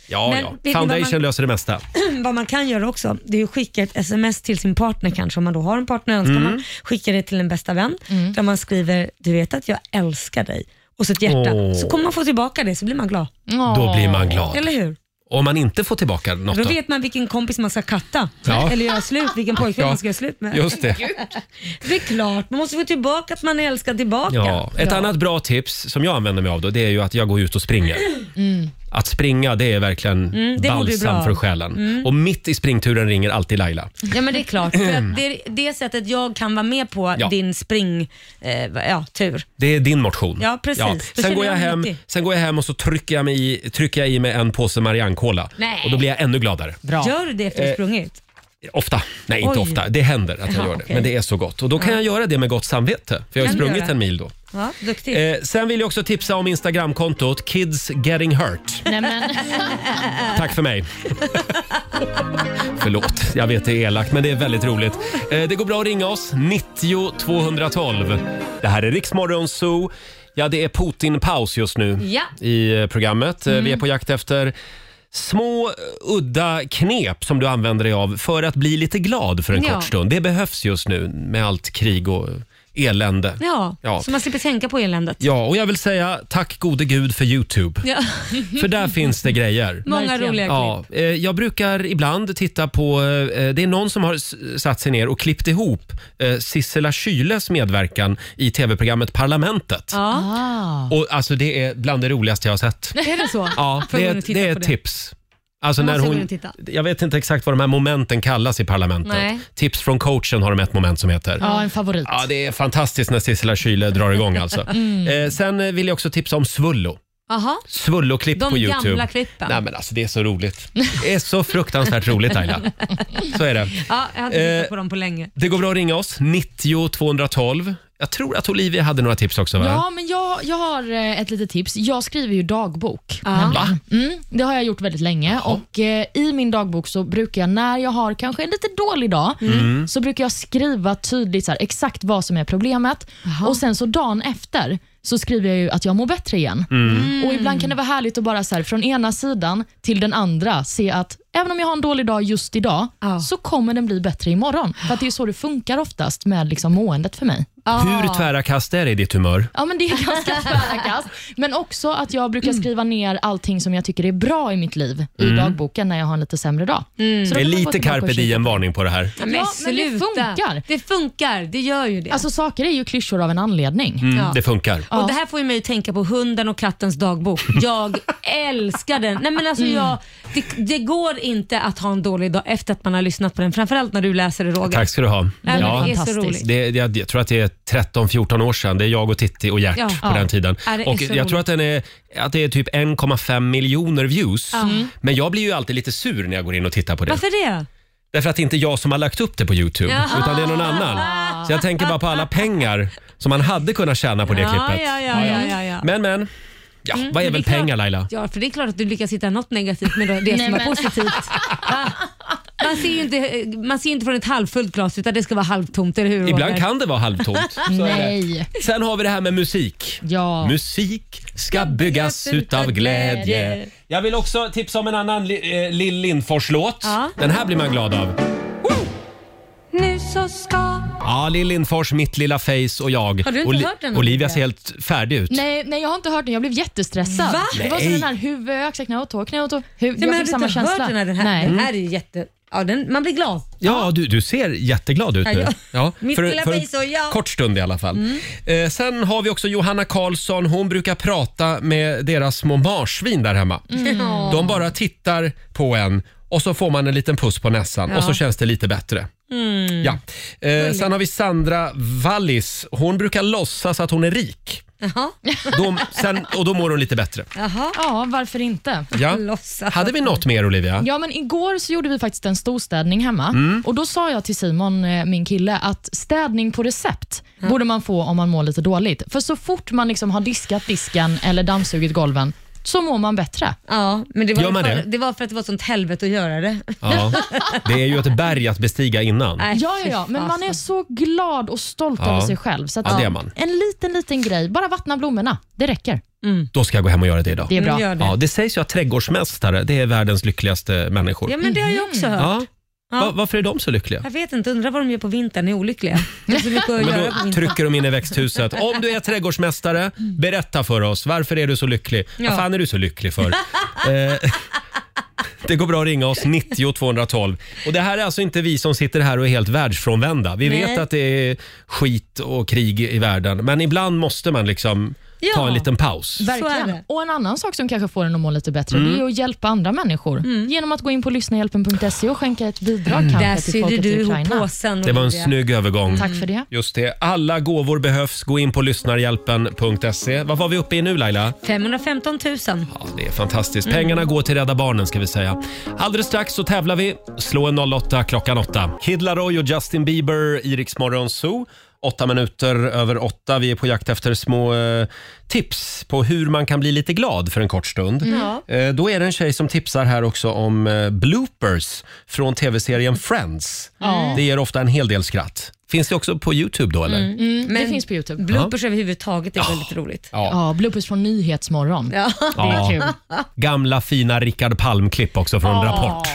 S1: Ja,
S2: Men vet ni
S1: ja.
S2: vad
S1: Foundation
S2: man-
S1: löser det mesta.
S2: Mm. vad man kan göra också, det är att skicka ett sms till sin partner kanske, om man då har en partner, önskar
S1: Mm.
S2: man skicka det till en bästa vän, där man skriver “du vet att jag älskar dig” och så ett hjärta.
S1: Åh.
S2: Så kommer man få tillbaka det, så blir man glad.
S1: Då blir man glad.
S2: Eller hur?
S1: Om man inte får tillbaka något
S2: Då
S1: då?
S2: vet man vilken kompis man ska katta,
S1: Ja.
S2: eller göra slut, vilken pojkvän
S1: Ja,
S2: man ska göra slut med.
S1: just det.
S2: det är klart, man måste få tillbaka att man är älskad tillbaka.
S1: Ja. Ett annat bra tips som jag använder mig av då, det är ju att jag går ut och springer.
S2: Mm.
S1: Att springa det är verkligen
S2: Mm, det vore
S1: balsam
S2: bra.
S1: för själen.
S2: Mm.
S1: Och mitt i springturen ringer alltid Laila.
S2: Ja men det är klart, för att det är det sättet jag kan vara med på
S1: Ja.
S2: din springtur. Eh, ja, tur.
S1: Det är din motion.
S2: Ja, precis. Då
S1: Sen,
S2: känner
S1: går jag
S2: jag mig
S1: hem,
S2: nyttig.
S1: sen går jag hem och så trycker jag, mig i, trycker jag i mig en påse Mariannekola.
S2: Nej.
S1: Och då blir jag ännu gladare.
S2: Gör du det efter du
S1: Eh,
S2: sprungit?
S1: Ofta. Nej, inte
S2: Oj.
S1: ofta. Det händer att jag
S2: Ja,
S1: gör det.
S2: okej.
S1: Men det är så gott. Och då kan
S2: Ja.
S1: jag göra det med gott samvete. För jag har
S2: Kan
S1: ju
S2: du
S1: sprungit
S2: göra?
S1: en mil då.
S2: Ja, duktigt.
S1: Eh, sen vill jag också tipsa om Instagramkontot Kids Getting Hurt.
S6: Nej, men.
S1: Tack för mig. Förlåt, jag vet det är elakt men det är väldigt roligt. Eh, det går bra att ringa oss, 90 212. Det här är Riksmorgon Zoo. Ja, det är Putin-paus just nu
S2: Ja.
S1: i eh, programmet. Eh, Vi är
S2: Mm.
S1: på jakt efter små eh, udda knep som du använder dig av för att bli lite glad för en
S2: Ja.
S1: kort stund. Det behövs just nu med allt krig och elände.
S2: Ja,
S1: Ja.
S2: så man slipper tänka på eländet.
S1: Ja, och jag vill säga tack gode gud för Youtube.
S2: Ja.
S1: För där finns det grejer.
S2: Mm. Många Verkligen. roliga
S1: ja, eh, Jag brukar ibland titta på, eh, det är någon som har s- satt sig ner och klippt ihop eh, Sissela Kyles medverkan i tv-programmet Parlamentet.
S6: Ah.
S2: Ja.
S1: Och alltså det är bland det roligaste jag har sett.
S2: Är det så?
S1: Ja,
S2: Får jag
S1: det
S2: gå
S1: är,
S2: in och titta
S1: det är
S2: på
S1: ett tips. Alltså
S2: Jag
S1: när
S2: måste gå in
S1: hon,
S2: och titta.
S1: jag vet inte exakt vad de här momenten kallas i Parlamentet.
S6: Nej.
S1: Tips från coachen har de ett moment som heter.
S6: Ja, en favorit.
S1: Ja, det är fantastiskt när Sissela Kyle drar igång alltså.
S6: Mm.
S1: Eh, sen eh, vill jag också tipsa om Svullo.
S2: Aha.
S1: Svullo-klipp
S2: De
S1: på Youtube.
S2: gamla klippen.
S1: Nej men alltså det är så roligt. Det är så fruktansvärt roligt Laila. Så är det.
S2: Ja, jag har inte
S1: Eh,
S2: tittat på dem på länge.
S1: Det går bra att ringa oss, 90 212. Jag tror att Olivia hade några tips också va?
S6: Ja, men jag, jag har eh, ett litet tips. Jag skriver ju dagbok.
S1: Va?
S6: nämligen. Mm, det har jag gjort väldigt länge. Och eh, I min dagbok så brukar jag, när jag har kanske en lite dålig dag,
S13: Mm.
S6: så brukar jag skriva tydligt så här, exakt vad som är problemet. Och sen så dagen efter så skriver jag ju att jag mår bättre igen.
S13: Mm.
S6: Och Ibland kan det vara härligt att bara så här, från ena sidan till den andra se att även om jag har en dålig dag just idag, så kommer den bli bättre imorgon. För att det är så det funkar oftast med liksom måendet för mig. Ah.
S1: Hur tvära kast är det i ditt humör?
S6: Ja, men det är ganska tvära kast. Men också att jag brukar
S2: Mm.
S6: skriva ner allting som jag tycker är bra i mitt liv
S1: Mm.
S6: i dagboken när jag har en lite sämre dag. Så då
S2: Mm.
S1: Det är
S6: kan man gå
S1: lite
S6: tillbaka och
S1: carpe
S6: kika.
S1: diem-varning på det här. Mm,
S6: Ja, men det funkar.
S2: Det funkar, det gör ju det.
S6: Alltså saker är ju klyschor av en anledning.
S1: Mm, Det funkar.
S2: Och Det här får ju mig att tänka på hunden och kattens dagbok. Jag älskar den. Nej, men alltså
S6: Mm.
S2: jag, det, det går inte att ha en dålig dag efter att man har lyssnat på den. Framförallt när du läser det Roger.
S1: Tack ska du ha.
S2: men det är så roligt.
S1: det, jag, jag tror att det är 13-14 år sedan. Det är jag och Titti och Gert
S2: Ja.
S1: på
S2: Ja.
S1: den tiden.
S2: Ja, det är
S1: och
S2: så
S1: jag tror
S2: roligt.
S1: att, den är, att det är typ 1,5 miljoner views.
S2: Mm.
S1: Men jag blir ju alltid lite sur när jag går in och tittar på det.
S2: Varför det?
S1: Därför att det är inte jag som har lagt upp det på Youtube,
S2: Jaha.
S1: utan det är någon annan. Så jag tänker bara på alla pengar som man hade kunnat tjäna på det
S2: Ja,
S1: klippet.
S2: ja, ja, ja, ja, ja.
S1: Men, men. Ja, vad
S2: Mm,
S1: är
S2: men det
S1: väl
S2: är klart-
S1: pengar Laila?
S2: Ja, för det är klart att du lyckas hitta något negativt med det
S6: Nej,
S2: som är
S6: men-
S2: positivt. Va? Man ser ju inte, man ser ju inte från ett halvfullt glas utan det ska vara halvtomt, eller hur Roger?
S1: Ibland kan det vara halvtomt. Så är det.
S6: Nej.
S1: Sen har vi det här med musik.
S6: Ja.
S1: Musik ska byggas utav glädje. Jag vill också tipsa om en annan li- eh, Lill Lindfors-låt.
S13: Ja.
S1: Den här blir man glad av.
S13: Nu så ska...
S1: Ja, Lill Lindfors, Mitt lilla face och jag.
S6: Har du inte
S1: Oli-
S6: hört den?
S1: Olivia ser helt färdig ut.
S6: Nej, nej, jag har inte hört den. Jag blev jättestressad.
S1: Va?
S6: Det var som
S1: Nej.
S6: den här huvud, axel, knä och tå, knä och tå. Huvud.
S2: Nej, men
S6: Jag
S2: har
S6: fick
S2: du
S6: samma
S2: inte hört
S6: känsla.
S2: den här? Mm. Den här,
S6: Nej.
S2: den här är ju jätte... Ja, den, man blir glad.
S1: Ja, du, du ser jätteglad ut
S2: Ja,
S1: nu.
S2: ja.
S1: Ja,
S2: Mitt
S1: för,
S2: lilla
S1: för
S2: face och
S1: en
S2: jag.
S1: kort stund i alla fall.
S2: Mm.
S1: Eh, sen har vi också Johanna Karlsson. Hon brukar prata med deras små marsvin där hemma.
S13: Mm.
S1: De bara tittar på en och så får man en liten puss på näsan
S13: Ja.
S1: och så känns det lite bättre.
S13: Mm.
S1: Ja. Eh, sen har vi Sandra Wallis. Hon brukar låtsas att hon är rik.
S2: Jaha.
S1: De, sen, och då mår hon lite bättre.
S2: Jaha.
S6: Ja, varför inte?
S1: Ja. Hade vi något mer Olivia?
S6: Ja, men igår så gjorde vi faktiskt en storstädning hemma
S1: Mm.
S6: och då sa jag till Simon, eh, min kille, att städning på recept borde man få om man mår lite dåligt. För så fort man liksom har diskat disken eller dammsugit golven så mår man bättre.
S2: Ja, men det var,
S1: Gör man
S2: för,
S1: det?
S2: var för att det var ett sånt helvete att göra det.
S1: Ja. Det är ju ett berg att bestiga innan.
S6: Ja, ja, ja, men man är så glad och stolt
S1: Ja.
S6: över sig själv. Så att
S1: Ja, det är man.
S6: En liten, liten grej. Bara vattna blommorna. Det räcker.
S1: Då ska jag gå hem och göra det idag.
S6: Det är bra. Mm,
S1: Ja,
S6: gör
S1: det.
S6: det.
S1: sägs ju att trädgårdsmästare det är världens lyckligaste människor.
S2: Ja, men det har jag
S6: Mhm.
S2: också hört.
S1: Ja.
S2: Ja.
S1: Va- varför är de så lyckliga?
S2: Jag vet inte, undrar vad de gör på vintern, är olyckliga. Det är så mycket att
S1: Men
S2: göra på
S1: då
S2: vintern.
S1: trycker de in i växthuset. Om du är trädgårdsmästare, berätta för oss. Varför är du så lycklig?
S2: Ja.
S1: Vad fan är du så lycklig för? eh, det går bra att ringa oss, 90 212. Och det här är alltså inte vi som sitter här och är helt världsfrånvända. Vi
S2: Nej.
S1: vet att det är skit och krig i världen, men ibland måste man liksom ta
S6: Ja.
S1: en liten paus.
S6: Verkligen. Och en annan sak som kanske får en att må lite bättre,
S1: Mm.
S6: det är att hjälpa andra människor. Genom att gå in på lyssnahjälpen.se och skänka ett bidrag kanske
S2: Mm. Där
S6: till
S2: sydde
S6: folket i
S2: du ihop
S6: Ukraina.
S2: påsen,
S1: Det var en snygg övergång.
S6: Tack för det.
S1: Just det. Alla gåvor behövs. Gå in på lyssnarhjälpen.se. Vad var vi uppe i nu Laila?
S2: 515 000.
S1: Ja, det är fantastiskt.
S2: Mm.
S1: Pengarna går till Rädda Barnen ska vi säga. Alldeles strax så tävlar vi. Slå en 08 klockan 8. Kid Laroi och Justin Bieber i Rix Morgon Zoo. Åtta minuter över åtta. Vi är på jakt efter små eh, tips på hur man kan bli lite glad för en kort stund.
S13: Ja.
S1: Eh, då är det en tjej som tipsar här också om eh, bloopers från tv-serien Friends.
S2: Ja.
S1: Det ger ofta en hel del skratt. Finns det också på Youtube då eller?
S6: Mm. Mm. Det finns på Youtube.
S2: Bloopers överhuvudtaget är väldigt roligt.
S1: Ja.
S6: Ja, bloopers från Nyhetsmorgon.
S2: Ja.
S6: Det är kul.
S1: Gamla fina Rickard Palm-klipp också från Rapport.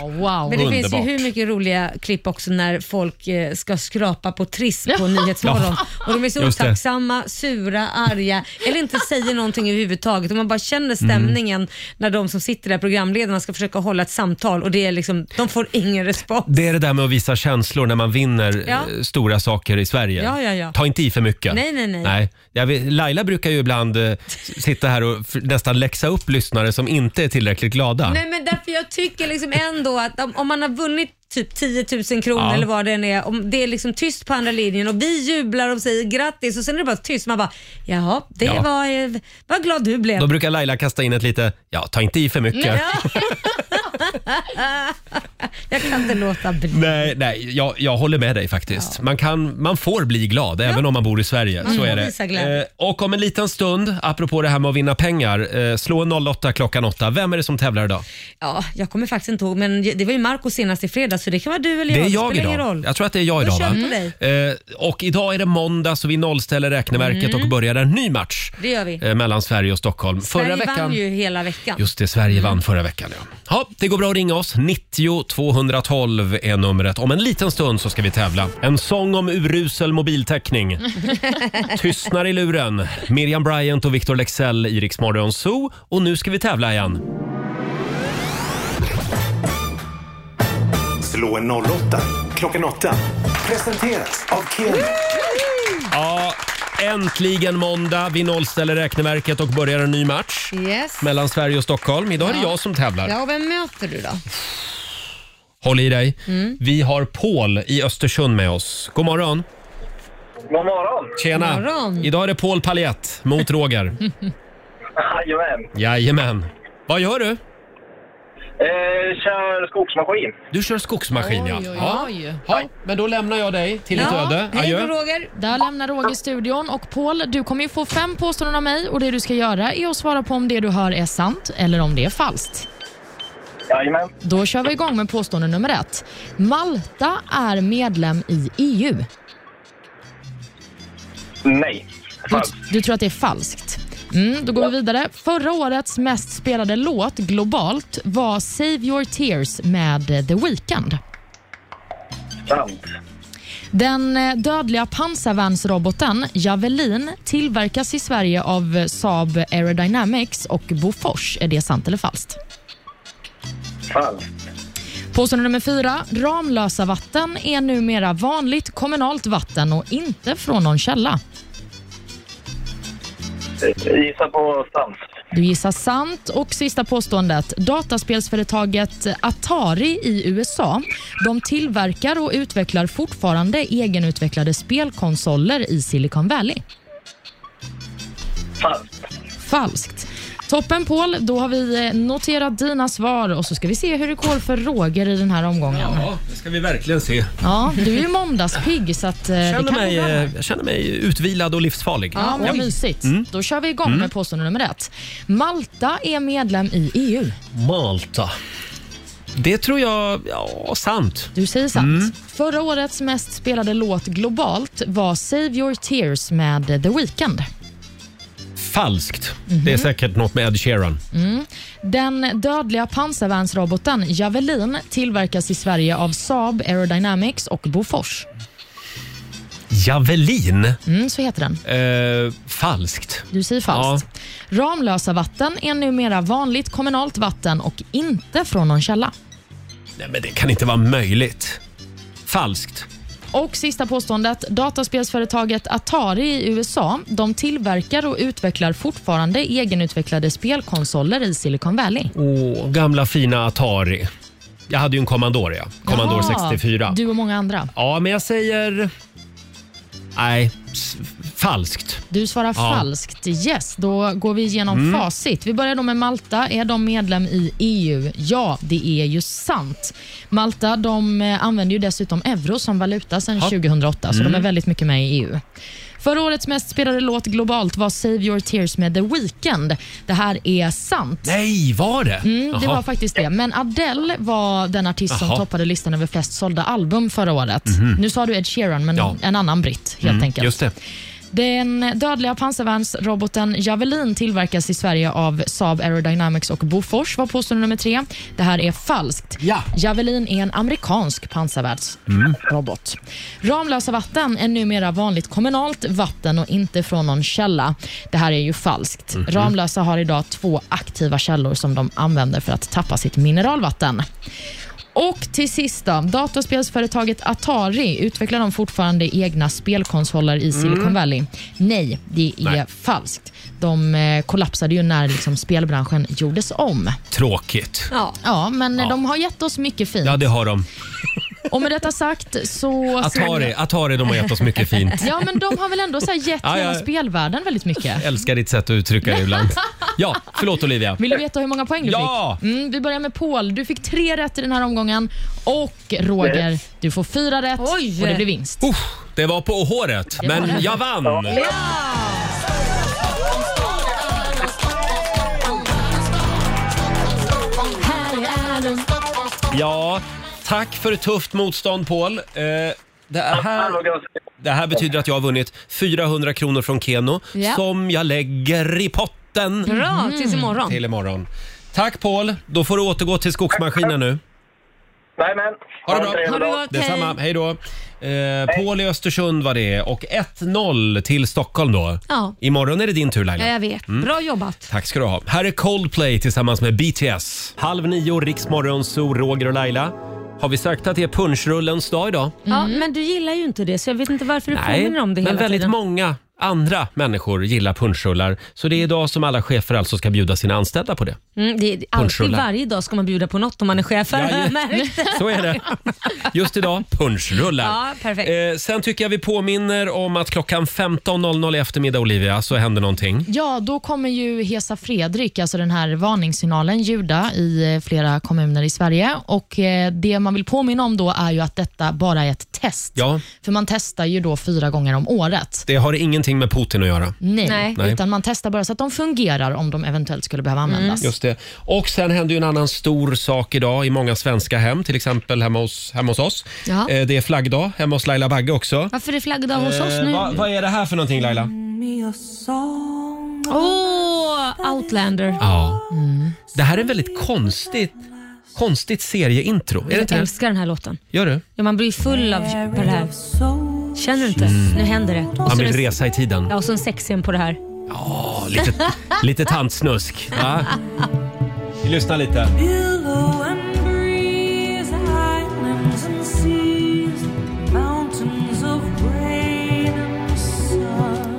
S2: Men
S6: Wow.
S2: det finns ju
S1: Underbart.
S2: hur mycket roliga klipp också när folk eh, ska skrapa på Triss på Nyhetsmorgon.
S1: Ja.
S2: Och de är så
S1: Just det.
S2: otacksamma, sura, arga eller inte säger någonting överhuvudtaget. Och man bara
S1: Mm.
S2: känner stämningen när de som sitter där, programledarna, ska försöka hålla ett samtal och det är liksom, de får ingen respons.
S1: Det är det där med att visa känslor när man vinner
S2: Ja.
S1: eh, stora saker i Sverige.
S2: Ja, ja, ja.
S1: Ta inte i för mycket.
S2: Nej, nej, nej.
S1: Jag vet, Laila brukar ju ibland eh, s- sitta här och f- nästan läxa upp lyssnare som inte är tillräckligt glada.
S2: Nej men därför jag tycker liksom ändå att om, om man har vunnit typ 10 000 kronor
S1: Ja.
S2: eller vad det än är, om det är liksom tyst på andra linjen och vi jublar och säger grattis och sen är det bara tyst. Man bara, jaha, det
S1: Ja.
S2: var, eh, vad glad du blev.
S1: Då brukar Laila kasta in ett lite, ja, ta inte i för mycket.
S2: Nej. jag kan inte låta bli.
S1: Nej, nej jag, jag håller med dig faktiskt. Man, kan, man får bli glad även om man bor i Sverige.
S2: Man
S1: så
S2: får
S1: är
S2: Mm. visa
S1: det.
S2: glädje.
S1: Eh, och om en liten stund, apropå det här med att vinna pengar, eh, slå en 08 klockan 8. Vem är det som tävlar idag?
S2: Ja, jag kommer faktiskt inte ihåg, men det var ju Marco senast i fredags så det kan vara du eller
S1: Det
S2: jag.
S1: är jag
S2: spelar ingen
S1: idag.
S2: roll.
S1: Jag tror att det är jag
S2: Då
S1: idag.
S2: kör vi på
S1: Va? Eh, och idag är det måndag så vi nollställer räkneverket
S2: Mm.
S1: och börjar en ny match
S2: Det gör vi.
S1: eh, mellan Sverige och Stockholm.
S2: Sverige
S1: förra veckan...
S2: vann ju hela veckan.
S1: Just det, Sverige vann förra veckan. Ja. Ja, det går bra att ringa oss. 90 212 är numret. Om en liten stund så ska vi tävla. En sång om urusel mobiltäckning. Tystnar i luren. Miriam Bryant och Victor Lexell i Rix Morgon Zoo. Och nu ska vi tävla igen.
S7: Slå en 08 klockan 8. Presenteras av Keno.
S1: Ja, äntligen måndag. Vi nollställer räkneverket och börjar en ny match
S2: Yes.
S1: mellan Sverige och Stockholm. Idag är det
S2: Ja.
S1: jag som tävlar.
S2: Ja, och vem möter du då?
S1: Håll i dig.
S2: Mm.
S1: Vi har Paul i Östersund med oss. God morgon.
S11: God morgon!
S1: Tjena.
S11: God morgon.
S1: Idag är det Paul Paljett mot Roger.
S11: Jajamän!
S1: Jajamän. Vad gör du?
S11: Eh, kör skogsmaskin.
S1: Du kör skogsmaskin, ja. ja.
S6: Oj.
S1: Ja, men då lämnar jag dig till ditt öde. Adjö.
S2: Roger.
S6: Där lämnar Roger studion. Och Paul, du kommer ju få fem påståenden av mig och det du ska göra är att svara på om det du hör är sant eller om det är falskt.
S11: Jajamän.
S6: Då kör vi igång med påstående nummer ett. Malta är medlem i E EU.
S11: Nej.
S6: Du, du tror att det är falskt. Mm, då går vi vidare. Förra årets mest spelade låt globalt var Save Your Tears med The Weeknd.
S11: Sant.
S6: Den eh, dödliga pansarvärnsroboten Javelin tillverkas i Sverige av eh, Saab Aerodynamics och Bofors. Är det sant eller falskt?
S11: Falskt.
S6: Påstående nummer fyra. Ramlösa vatten är numera vanligt kommunalt vatten och inte från någon källa.
S11: Eh, Gissa på sant.
S6: Du gissar sant. Och sista påståendet. Dataspelsföretaget Atari i USA de tillverkar och utvecklar fortfarande egenutvecklade spelkonsoler i Silicon Valley.
S11: Falskt.
S6: Falskt. Toppen Paul, då har vi eh, noterat dina svar och så ska vi se hur det går för Roger i den här omgången. Ja,
S1: Det ska vi verkligen se.
S6: du är ju måndagspigg så att eh, det
S1: Känner
S6: kan
S1: mig,
S6: gå bra.
S1: eh, jag känner mig utvilad och livsfarlig.
S6: Ja, vad mysigt.
S1: Mm.
S6: Då kör vi igång
S1: Mm.
S6: med påstående nummer ett. Malta är medlem i E EU.
S1: Malta. Det tror jag... Ja, sant.
S6: Du säger sant. Förra årets mest spelade låt globalt var Save Your Tears med The Weeknd.
S1: Falskt. Det är säkert något med Ed Sheeran.
S6: Mm. Den dödliga pansarvärnsroboten Javelin tillverkas i Sverige av Saab Aerodynamics och Bofors.
S1: Javelin.
S6: Mm, så heter den.
S1: Eh, falskt.
S6: Du säger falskt. Ramlösa vatten är numera vanligt kommunalt vatten och inte från någon källa.
S1: Nej, men det kan inte vara möjligt. Falskt.
S6: Och sista påståendet. Dataspelsföretaget Atari i USA de tillverkar och utvecklar fortfarande egenutvecklade spelkonsoler i Silicon Valley.
S1: Åh, gamla fina Atari. Jag hade ju en Commodore, ja. Commodore
S6: Jaha,
S1: 64.
S6: Du och många andra.
S1: Ja, men jag säger... Nej, s- falskt.
S6: Du svarar
S1: Ja.
S6: falskt. Yes, då går vi igenom
S1: Mm.
S6: facit. Vi börjar då med Malta. Är de medlem i EU? Ja, det är ju sant. Malta de eh, använder ju dessutom euro som valuta sedan
S14: Ja.
S6: 2008, så
S14: Mm.
S6: de är väldigt mycket med i EU. Förra årets mest spelade låt globalt var Save Your Tears med The Weeknd. Det här är sant.
S1: Nej, var det?
S6: Mm, det
S1: Jaha.
S6: var faktiskt det. Men Adele var den artist som
S1: Jaha.
S6: toppade listan över flest sålda album förra året.
S1: Mhm.
S6: Nu sa du Ed Sheeran, men
S1: Ja.
S6: en annan britt helt
S1: Mm,
S6: enkelt.
S1: Just det.
S6: Den dödliga pansarvärnsroboten Javelin tillverkas i Sverige av Saab Aerodynamics och Bofors var påstående nummer tre. Det här är falskt. Javelin är en amerikansk pansarvärns...
S14: Mm.
S6: Robot. Ramlösa vatten är numera vanligt kommunalt vatten och inte från någon källa. Det här är ju falskt.
S14: Mhm.
S6: Ramlösa har idag två aktiva källor som de använder för att tappa sitt mineralvatten. Och till sist då, datorspelsföretaget Atari utvecklar de fortfarande egna spelkonsoler i Silicon
S14: Mm.
S6: Valley? Nej, det är
S1: Nej.
S6: falskt. De eh, kollapsade ju när liksom spelbranschen gjordes om.
S1: Tråkigt.
S6: Ja, men eh, de har gett oss mycket fint.
S1: Ja, det har de.
S6: Och med detta sagt så...
S1: Atari, Atari de har gett oss mycket fint.
S6: Ja, men de har väl ändå så här gett
S1: Ja, ja.
S6: hela spelvärlden väldigt mycket.
S1: Älskar ditt sätt att uttrycka det ibland. Ja, förlåt Olivia.
S6: Vill du veta hur många poäng du
S1: Ja!
S6: fick? Mm, vi börjar med Paul. Du fick tre rätt i den här omgången. Och Roger,
S1: Yes.
S6: du får fyra rätt och det blir vinst.
S1: Det var på håret,
S6: Det var det.
S1: men jag vann! Ja, tack för ett tufft motstånd Paul. Eh, det, här, det här betyder att jag har vunnit 400 kronor från Keno
S2: Ja.
S1: som jag lägger i potten.
S2: Mm. Bra, tills imorgon.
S1: Till imorgon. Tack Paul, då får du återgå till skogsmaskinen nu.
S11: Nej men.
S1: Ha det
S11: en trevlig
S1: bra.
S11: dag.
S1: Detsamma. Hej då. Eh, Paul i Östersund var det och 1-0 till Stockholm då.
S2: Ja.
S1: Imorgon är det din tur
S2: Ja,
S1: Laila.
S2: jag vet.
S1: Mm.
S2: Bra jobbat.
S1: Tack ska du ha. Här är Coldplay tillsammans med BTS. Halv nio, Riksmorgon, Zoo, Roger och Laila. Har vi sagt att det är punschrullens dag idag?
S2: Ja, men du gillar ju inte det så jag vet inte varför du påminner om det
S1: men
S2: hela
S1: väldigt
S2: tiden.
S1: många andra människor gillar punschrullar. Så det är idag som alla chefer alltså ska bjuda sina anställda på det.
S2: Mm, det är alltid
S1: Punschrullar.
S2: varje dag ska man bjuda på något om man är chef. har
S1: Ja,
S2: jag
S1: ja.
S2: märkt.
S1: Så är det. Just idag, punschrullar.
S2: Ja, perfekt.
S1: Eh, sen tycker jag vi påminner om att klockan 15.00 i eftermiddag, Olivia, så händer någonting.
S6: Ja, då kommer ju Hesa Fredrik, alltså den här varningssignalen, ljuda i eh, flera kommuner i Sverige. Och eh, Det man vill påminna om då är ju att detta bara är ett test.
S1: Ja,
S6: För man testar ju då fyra gånger om året.
S1: det har ingenting med Putin att göra.
S6: Nej,
S1: Nej.
S6: utan man testar bara så att de fungerar om de eventuellt skulle behöva
S2: Mm.
S6: användas.
S1: Just det. Och sen hände ju en annan stor sak idag i många svenska hem, till exempel hemma hos, hemma hos oss.
S2: Ja.
S1: Eh, Det är flaggdag hemma hos Laila Bagge också.
S2: Varför är det flaggdag hos oss
S1: Eh,
S2: nu? Mm.
S1: Vad, vad är det här för någonting Laila?
S2: Åh, Outlander.
S1: Ja.
S2: Mm.
S1: Det här är väldigt konstigt, konstigt serieintro. Är det
S2: Jag
S1: inte det?
S2: älskar den här låten.
S1: Gör du?
S2: Ja, man blir full av på det här. Känner du inte? Nu händer det. Och
S1: Man
S2: så
S1: Mm. vill
S2: den-
S1: resa i tiden.
S2: Ja, och så en sexscen på det här.
S1: Ja, lite, lite tantsnusk. Ja. Vi lyssnar lite.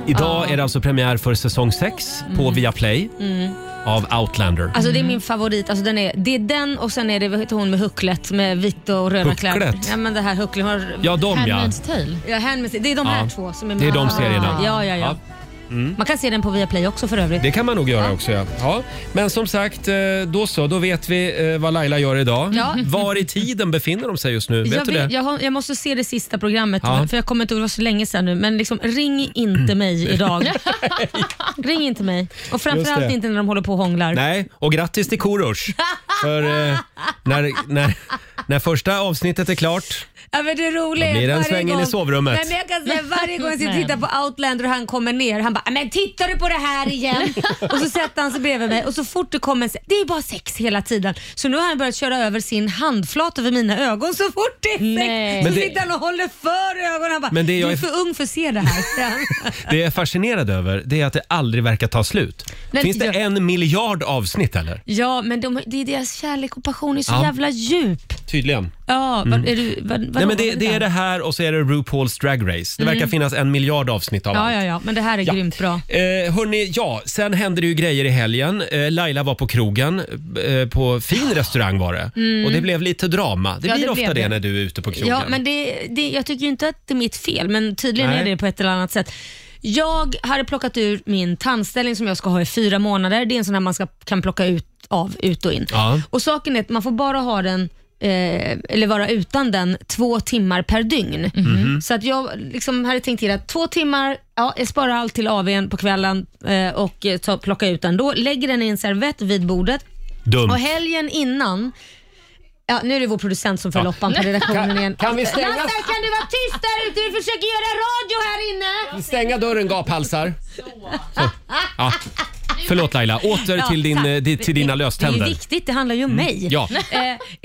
S1: Idag är det alltså premiär för säsong 6 på Viaplay
S2: Mm.
S1: av Outlander.
S2: Alltså det är min favorit. Alltså, den är, det är den och sen är det vad heter hon med hucklet med vita och röda
S1: Hucklet?
S2: kläder. Ja men det här hucklet. Har,
S1: Ja, de, ja. Handmaid's
S6: Tale.
S2: Ja, Handmaid's Tale. Det är de här
S1: Ja.
S2: två som är
S1: Det är de
S2: Ah.
S1: serierna.
S2: Ja, ja, ja.
S1: Mm.
S2: Man kan se den på Viaplay också för övrigt.
S1: Det kan man nog göra också. Ja. Ja. Men som sagt, eh, då så. Då vet vi eh, vad Laila gör idag.
S2: Ja.
S1: Var i tiden befinner de sig just nu? Vet
S2: jag,
S1: du det?
S2: vet- jag, har, jag måste se det sista programmet,
S1: Ja.
S2: för jag kommer inte ihåg, det var så länge sedan nu. Men liksom, ring inte mig idag. ring inte mig. Och
S1: Just
S2: framförallt
S1: det.
S2: inte när de håller på och hånglar.
S1: Nej, och grattis till Korosh. För eh, när, när, när första avsnittet är klart,
S2: Ja, men det roliga är
S1: Då blir det en
S2: varje
S1: sväng in i
S2: gång-
S1: sovrummet.
S2: Nej, men jag kan säga, varje gång jag ska titta på Outlander och han kommer ner, han bara “men tittar du på det här igen?” och så sätter han sig bredvid mig och så fort det kommer en- det är bara sex hela tiden. Så nu har han börjat köra över sin handflat över mina ögon så fort det är sex.
S6: Nej.
S2: Så
S1: Men det-
S2: sitter han och håller för ögonen. Han bara
S1: Men det jag
S2: “du är
S1: är-
S2: för ung för att se det här”. säger han.
S1: det jag är fascinerad över det är att det aldrig verkar ta slut.
S2: Nej,
S1: Finns det
S2: jag-
S1: en miljard avsnitt eller?
S2: ja, men de, det är deras kärlek och passion är så
S1: Ja.
S2: jävla djup.
S1: Tydligen.
S2: Ja,
S1: Mm.
S2: vad, är du, vad, vad
S1: Nej, men det, det är det här och så är det RuPaul's Drag Race. Det verkar
S2: Mm.
S1: finnas en miljard avsnitt av
S2: Ja,
S1: allt.
S2: ja, ja, men det här är
S1: Ja.
S2: grymt bra.
S1: Eh, hörni, ja, sen hände det ju grejer i helgen. Eh, Laila var på krogen, eh, på fin restaurang var det.
S2: Mm.
S1: Och det blev lite drama. Det
S2: Ja,
S1: blir
S2: det
S1: ofta
S2: blev
S1: det
S2: det.
S1: när du är ute på krogen.
S2: Ja, men det, det, jag tycker ju inte att det är mitt fel, men tydligen
S1: Nej.
S2: är det på ett eller annat sätt. Jag hade plockat ur min tandställning som jag ska ha i fyra månader. Det är en sån här man ska, kan plocka ut av, ut och in.
S13: Ja.
S2: Och saken är att man får bara ha den Eh, eller vara utan den två timmar per dygn.
S1: Mm-hmm.
S13: Mhm.
S2: Så att jag liksom hade tänkt till att två timmar, ja, jag sparar allt till AWn på kvällen eh, och eh, ta, plockar ut den då. Lägger den i en servett vid bordet.
S1: Dumt.
S2: Och helgen innan Ja, nu är det vår producent som får
S1: Ja.
S2: loppan på redaktionen
S1: Kan-
S2: igen.
S1: kan vi stänga-
S2: Lasse, kan du vara tyst där ute? Du försöker göra radio här inne.
S1: Stänga dörren gaphalsar. Så. Ja. Förlåt Laila, åter
S2: Ja,
S1: till, din,
S2: tack.
S1: eh, di- till dina
S2: Det
S1: löständer.
S2: är ju viktigt, det handlar ju om
S1: Mm.
S2: mig.
S1: Ja.
S2: Eh,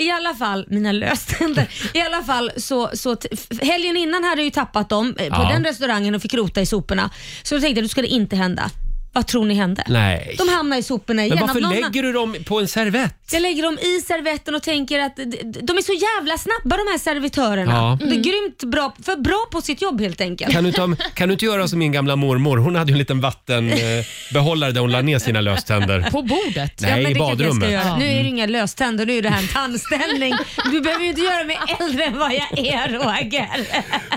S2: I alla fall, mina löständer. I alla fall så, så t- f- helgen innan hade jag ju tappat dem eh, på
S1: Ja.
S2: den restaurangen och fick rota i soporna. Så då tänkte jag, då ska det inte hända. Vad tror ni hände?
S1: Nej.
S2: De hamnar i soporna igen.
S1: Men
S2: av
S1: varför
S2: någon
S1: lägger du dem på en servett?
S2: Jag lägger dem i servetten och tänker att d- d- de är så jävla snabba de här servitörerna.
S1: Ja.
S2: De är grymt bra, för bra på sitt jobb helt enkelt.
S1: Kan du, inte, kan du inte göra som min gamla mormor? Hon hade ju en liten vattenbehållare där hon la ner sina löständer.
S6: På bordet?
S1: Nej, i
S2: det kanske jag ska
S1: badrummet.
S2: göra. Nu är det ju
S1: Mm.
S2: inga löständer, nu är det här en tandställning. Du behöver ju inte göra mig äldre än vad jag är Roger.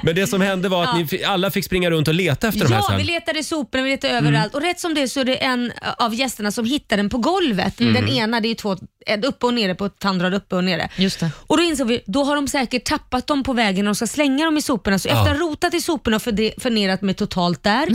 S1: Men det som hände var att
S2: Ja.
S1: ni fi- alla fick springa runt och leta efter de här
S2: Ja,
S1: sen. Mm.
S2: vi letade i soporna, vi letade överallt och rätt som det är så är det en av gästerna som hittar den på golvet.
S1: Mm.
S2: Den ena, det är ju två, en uppe och nere på ett tandrad uppe och nere.
S6: Just det.
S2: Och då insåg vi, då har de säkert tappat dem på vägen när de ska slänga dem i soporna. Så
S6: Ja.
S2: efter att ha rotat i soporna och förde- förnedrat mig totalt där,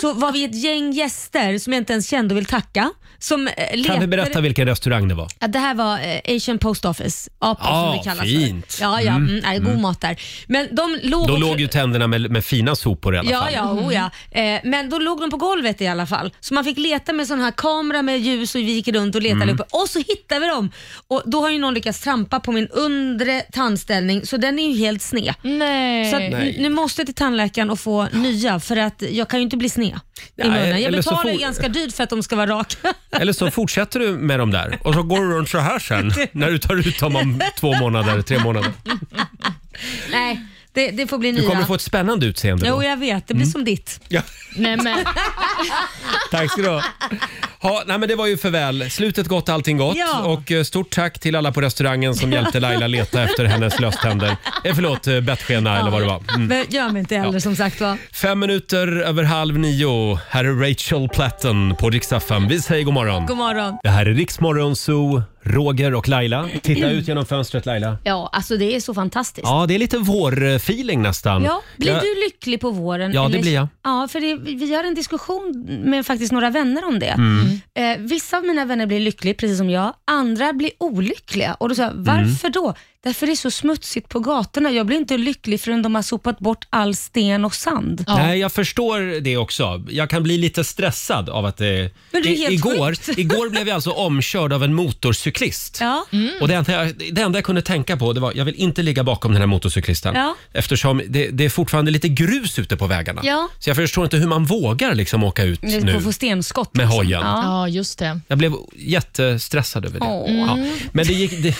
S2: så var vi ett gäng gäster som jag inte ens kände och vill tacka. Som eh,
S1: Kan
S2: letade...
S1: vi berätta vilken restaurang det var?
S2: Ja, det här var eh, Asian Post Office, APO
S1: Ah,
S2: som det kallas
S1: fint.
S2: för. Ja, ja,
S1: Mm.
S2: mm. nej, god
S1: Mm.
S2: mat där. Men de låg
S1: Då
S2: och-
S1: låg ju tänderna med, med fina sopor i alla
S2: Ja,
S1: fall. Mm.
S2: ja, oh, ja. Eh, men då låg de på golvet i alla fall. Så man fick leta med sån här kamera med ljus och vi gick runt och letade
S1: Mm.
S2: uppe. Och så hittade vi skriver om. Och då har ju någon lyckats trampa på min undre tandställning så den är ju helt sned.
S6: Nej.
S2: Så att,
S1: Nej.
S2: nu måste jag till tandläkaren och få nya för att jag kan ju inte bli sned
S1: Nej,
S2: i munnen. Jag
S1: eller så
S2: betalar ju
S1: får-
S2: ganska dyrt för att de ska vara raka.
S1: Eller så fortsätter du med dem där och så går du runt så här sen när du tar ut dem om två månader, tre månader.
S2: Nej, det, det får bli
S1: Du
S2: nya.
S1: kommer få Mm. ett spännande utseende
S2: Jo,
S1: då.
S2: jag vet. Det blir som ditt.
S1: Ja,
S6: Nej, men.
S1: tack ska du ha. ha. Nej men det var ju för väl. Slutet gott, allting gott.
S2: Ja.
S1: Och eh, stort tack till alla på restaurangen som hjälpte Laila leta efter hennes löständer. Eh, förlåt, eh, bettskena eller vad det var. Mm.
S2: Men gör mig inte äldre som sagt var.
S1: Fem minuter över halv nio. Här är Rachel Platten på riksdag fem. Vi säger god morgon.
S2: God morgon.
S1: Det här är Riksmorgon Zoo, Roger och Laila. Titta ut genom fönstret Laila.
S2: Ja, alltså det är så fantastiskt.
S1: Ja, det är lite vårfeeling nästan.
S2: Ja, blir
S1: Jag-
S2: du lycklig på våren?
S1: Ja, det blir jag.
S2: Ja, för det, vi har en diskussion med faktiskt några vänner om det.
S1: Mm.
S2: Eh, vissa av mina vänner blir lyckliga, precis som jag. Andra blir olyckliga. Och då sa jag,
S1: Mm.
S2: varför då? Därför det är så smutsigt på gatorna. Jag blir inte lycklig förrän de har sopat bort all sten och sand.
S1: Nej, jag förstår det också. Jag kan bli lite stressad av att det...
S2: Men det är
S1: I-
S2: helt
S1: igår,
S2: sjukt.
S1: igår blev jag alltså omkörd av en motorcyklist.
S2: Ja. Mm.
S1: Och det enda, jag, det enda jag kunde tänka på det var jag vill inte ligga bakom den här motorcyklisten.
S2: Ja.
S1: Eftersom det, det är fortfarande lite grus ute på vägarna.
S2: Ja.
S1: Så jag förstår inte hur man vågar liksom åka ut
S2: Nu
S1: nu.
S2: får få stenskott.
S1: Med
S2: liksom.
S1: hojen.
S2: Ja.
S6: Ja, just det.
S1: Jag blev jättestressad över det.
S2: Åh.
S1: Ja. Men det gick, det,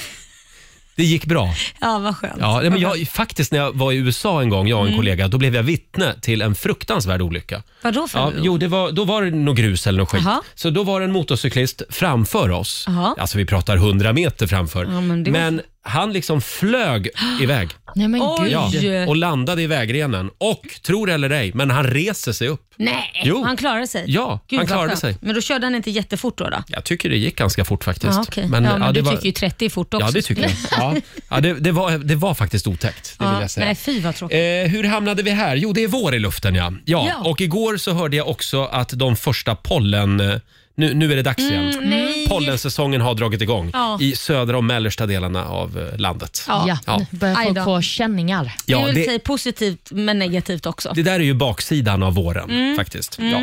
S1: det gick bra.
S2: ja, vad skönt.
S1: Ja, nej, men jag, faktiskt när jag var i USA en gång, jag och en
S2: Mm.
S1: kollega, då blev jag vittne till en fruktansvärd olycka.
S2: Vadå för
S1: Ja,
S2: ja,
S1: jo, det var, då var det något grus eller något skit.
S2: Jaha.
S1: Så då var det en motorcyklist framför oss.
S2: Jaha.
S1: Alltså vi pratar 100 meter framför.
S2: Ja, men
S1: men,
S2: det var-
S1: han liksom flög iväg.
S6: Nej, men
S2: Oj.
S6: gud.
S1: Ja, och landade i vägrenen. Och, tror det eller ej, men han reser sig upp.
S2: Nej,
S1: Jo.
S2: han klarade sig.
S1: Ja,
S2: Gud,
S1: han
S2: vad
S1: klarade
S2: skönt.
S1: sig.
S2: Men då körde han inte jättefort då? då?
S1: Jag tycker det gick ganska fort faktiskt.
S2: Ja, okej. ja, men
S1: ja,
S2: du
S1: det var-
S2: tycker ju 30 är fort också.
S1: Ja, det tycker jag. Ja. Ja, det, det, var, det var faktiskt otäckt. Det vill
S2: Ja,
S1: jag säga.
S2: nej, fy vad tråkigt.
S1: Eh, hur hamnade vi här? Jo, det är vår i luften ja. ja.
S2: Ja.
S1: Och igår så hörde jag också att de första pollen... eh, Nu, nu är det dags igen.
S2: Mm, nej.
S1: Pollensäsongen har dragit igång
S6: Ja.
S1: i södra och mellersta delarna av eh, landet.
S6: Ja, nu börjar
S2: Aj
S6: folk
S2: då.
S6: få känningar.
S1: Ja,
S2: det är
S1: det-
S2: väl säga positivt men negativt också.
S1: Det där är ju baksidan av våren
S2: Mm.
S1: faktiskt.
S2: Mm.
S1: Ja.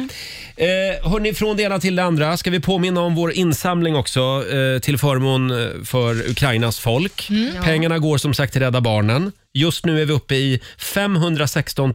S1: Eh, hörni, från det ena till det andra ska vi påminna om vår insamling också eh, till förmån eh, för Ukrainas folk.
S6: Mm. Ja.
S1: Pengarna går som sagt till Rädda Barnen. Just nu är vi uppe i 516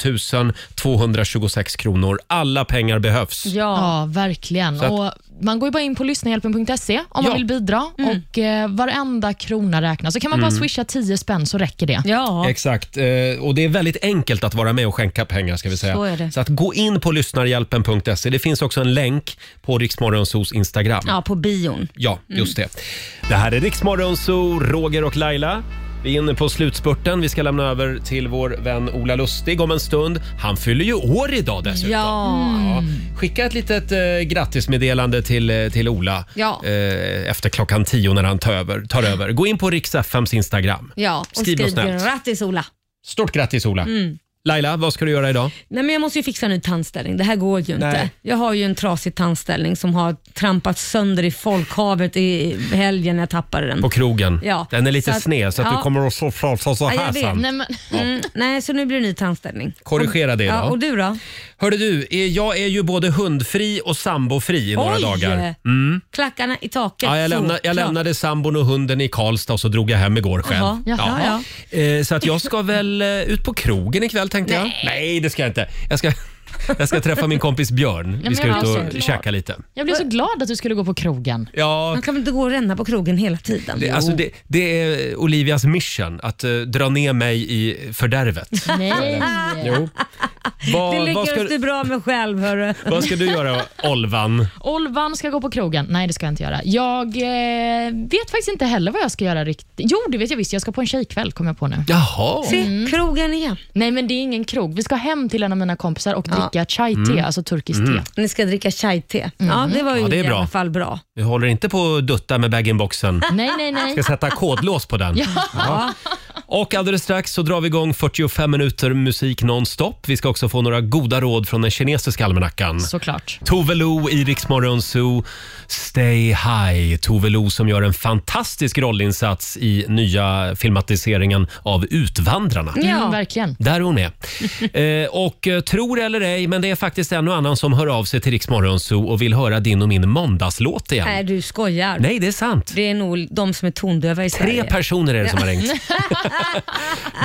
S1: 226 kronor. Alla pengar behövs.
S6: Ja, verkligen.
S1: Så att-
S6: och man går ju bara in på lyssnahjälpen.se om
S1: Ja.
S6: man vill bidra. Och eh, Varenda krona räknas. Så kan man bara
S1: Mm.
S6: swisha 10 spänn så räcker det.
S2: Ja.
S1: Exakt, eh, och det är väldigt enkelt att vara med och skänka pengar ska vi säga.
S2: Så är det.
S1: att gå in på lyssnarhjälpen.se. Det finns också en länk på Riksmorgonsos Instagram.
S2: Ja, på bion.
S1: Ja, just det. Det här är Riksmorgon, så Roger och Laila. Vi är inne på slutspurten. Vi ska lämna över till vår vän Ola Lustig om en stund. Han fyller ju år idag dessutom.
S2: Ja.
S1: Ja. Skicka ett litet eh, grattismeddelande till, eh, till Ola
S2: Ja.
S1: eh, efter klockan tio när han tar över. Tar över. Gå in på Riks-FMs Instagram.
S2: Ja, och
S1: Skriv
S2: skriv,
S1: något snällt.
S2: grattis Ola.
S1: Stort grattis Ola!
S2: Mm.
S1: Laila, vad ska du göra idag?
S2: Nej, men jag måste ju fixa en ny tandställning. Det här går ju inte.
S1: Nej.
S2: Jag har ju en trasig tandställning som har trampat sönder i folkhavet i helgen när jag tappade den.
S1: På krogen.
S2: Ja.
S1: Den är lite
S2: Så att-
S1: sned så att du
S2: ja.
S1: kommer att så, så, så, så
S2: Ja, jag
S1: här
S2: vet.
S1: sen.
S6: Nej, men,
S2: Mm, nej, så nu blir det ny tandställning.
S1: Korrigera det
S2: Ja,
S1: då.
S2: och du då?
S1: Hörde du, eh, jag är ju både hundfri och sambofri i några
S2: Oj!
S1: dagar. Mm.
S2: Klackarna i taket.
S1: Ja, jag, lämna, jag
S2: såklart.
S1: lämnade sambon och hunden i Karlstad och så drog jag hem igår själv.
S2: Jaha, jaha,
S1: Eh, Så att jag ska väl eh, ut på krogen ikväll tänkte jag. Nej, det ska jag inte. Jag ska, jag ska träffa min kompis Björn.
S6: Ja,
S1: Vi
S6: men
S1: ska
S6: jag
S1: ut
S6: är
S1: och
S6: så glad.
S1: käka lite.
S6: jag blev så glad att du skulle gå på krogen.
S1: Ja,
S2: Man kan väl inte gå och ränna på krogen hela tiden?
S1: det, alltså det, det är Olivias mission att eh, dra ner mig i fördärvet.
S6: Nej.
S1: Jo. Vad-
S2: det
S1: vad,
S2: lyckas
S1: ska,
S2: du bra med själv hörru.
S1: vad ska du göra, Olvan?
S6: Olvan ska gå på krogen. Nej, det ska jag inte göra. Jag eh, vet faktiskt inte heller vad jag ska göra riktigt. Jo, det vet jag visst. Jag ska på en tjejkväll, kom jag på nu.
S1: Jaha.
S2: Se, krogen igen.
S6: Nej, men det är ingen krog. Vi ska hem till en av mina kompisar och dricka chai te,
S1: Mm.
S6: alltså turkiskt
S1: Mm.
S6: te.
S2: Ni ska dricka chai-te. Ja, det var ju
S1: Ja, det är
S2: i
S1: bra.
S2: alla fall bra.
S1: Vi håller inte på att dutta med bag-in-boxen.
S6: Nej, nej, nej.
S1: Ska sätta kodlås på den.
S6: Ja.
S1: Ja. Och alldeles strax så drar vi igång 45 minuter musik nonstop. Vi ska också få några goda råd från den kinesiska almanackan.
S6: Såklart.
S1: Tove Lo i Rix Morgon Zoo. Stay high. Tove Lo som gör en fantastisk rollinsats i nya filmatiseringen av Utvandrarna.
S6: Mm, verkligen.
S1: Där hon är. Eh, och eh, tror eller ej, men det är faktiskt en och annan som hör av sig till Rix Morgon Zoo och vill höra din och min måndagslåt igen.
S2: Nej, du skojar.
S1: Nej, det är sant.
S2: Det är nog de som är tondöva i Sverige.
S1: Tre personer är det som har ringt.
S2: Ja.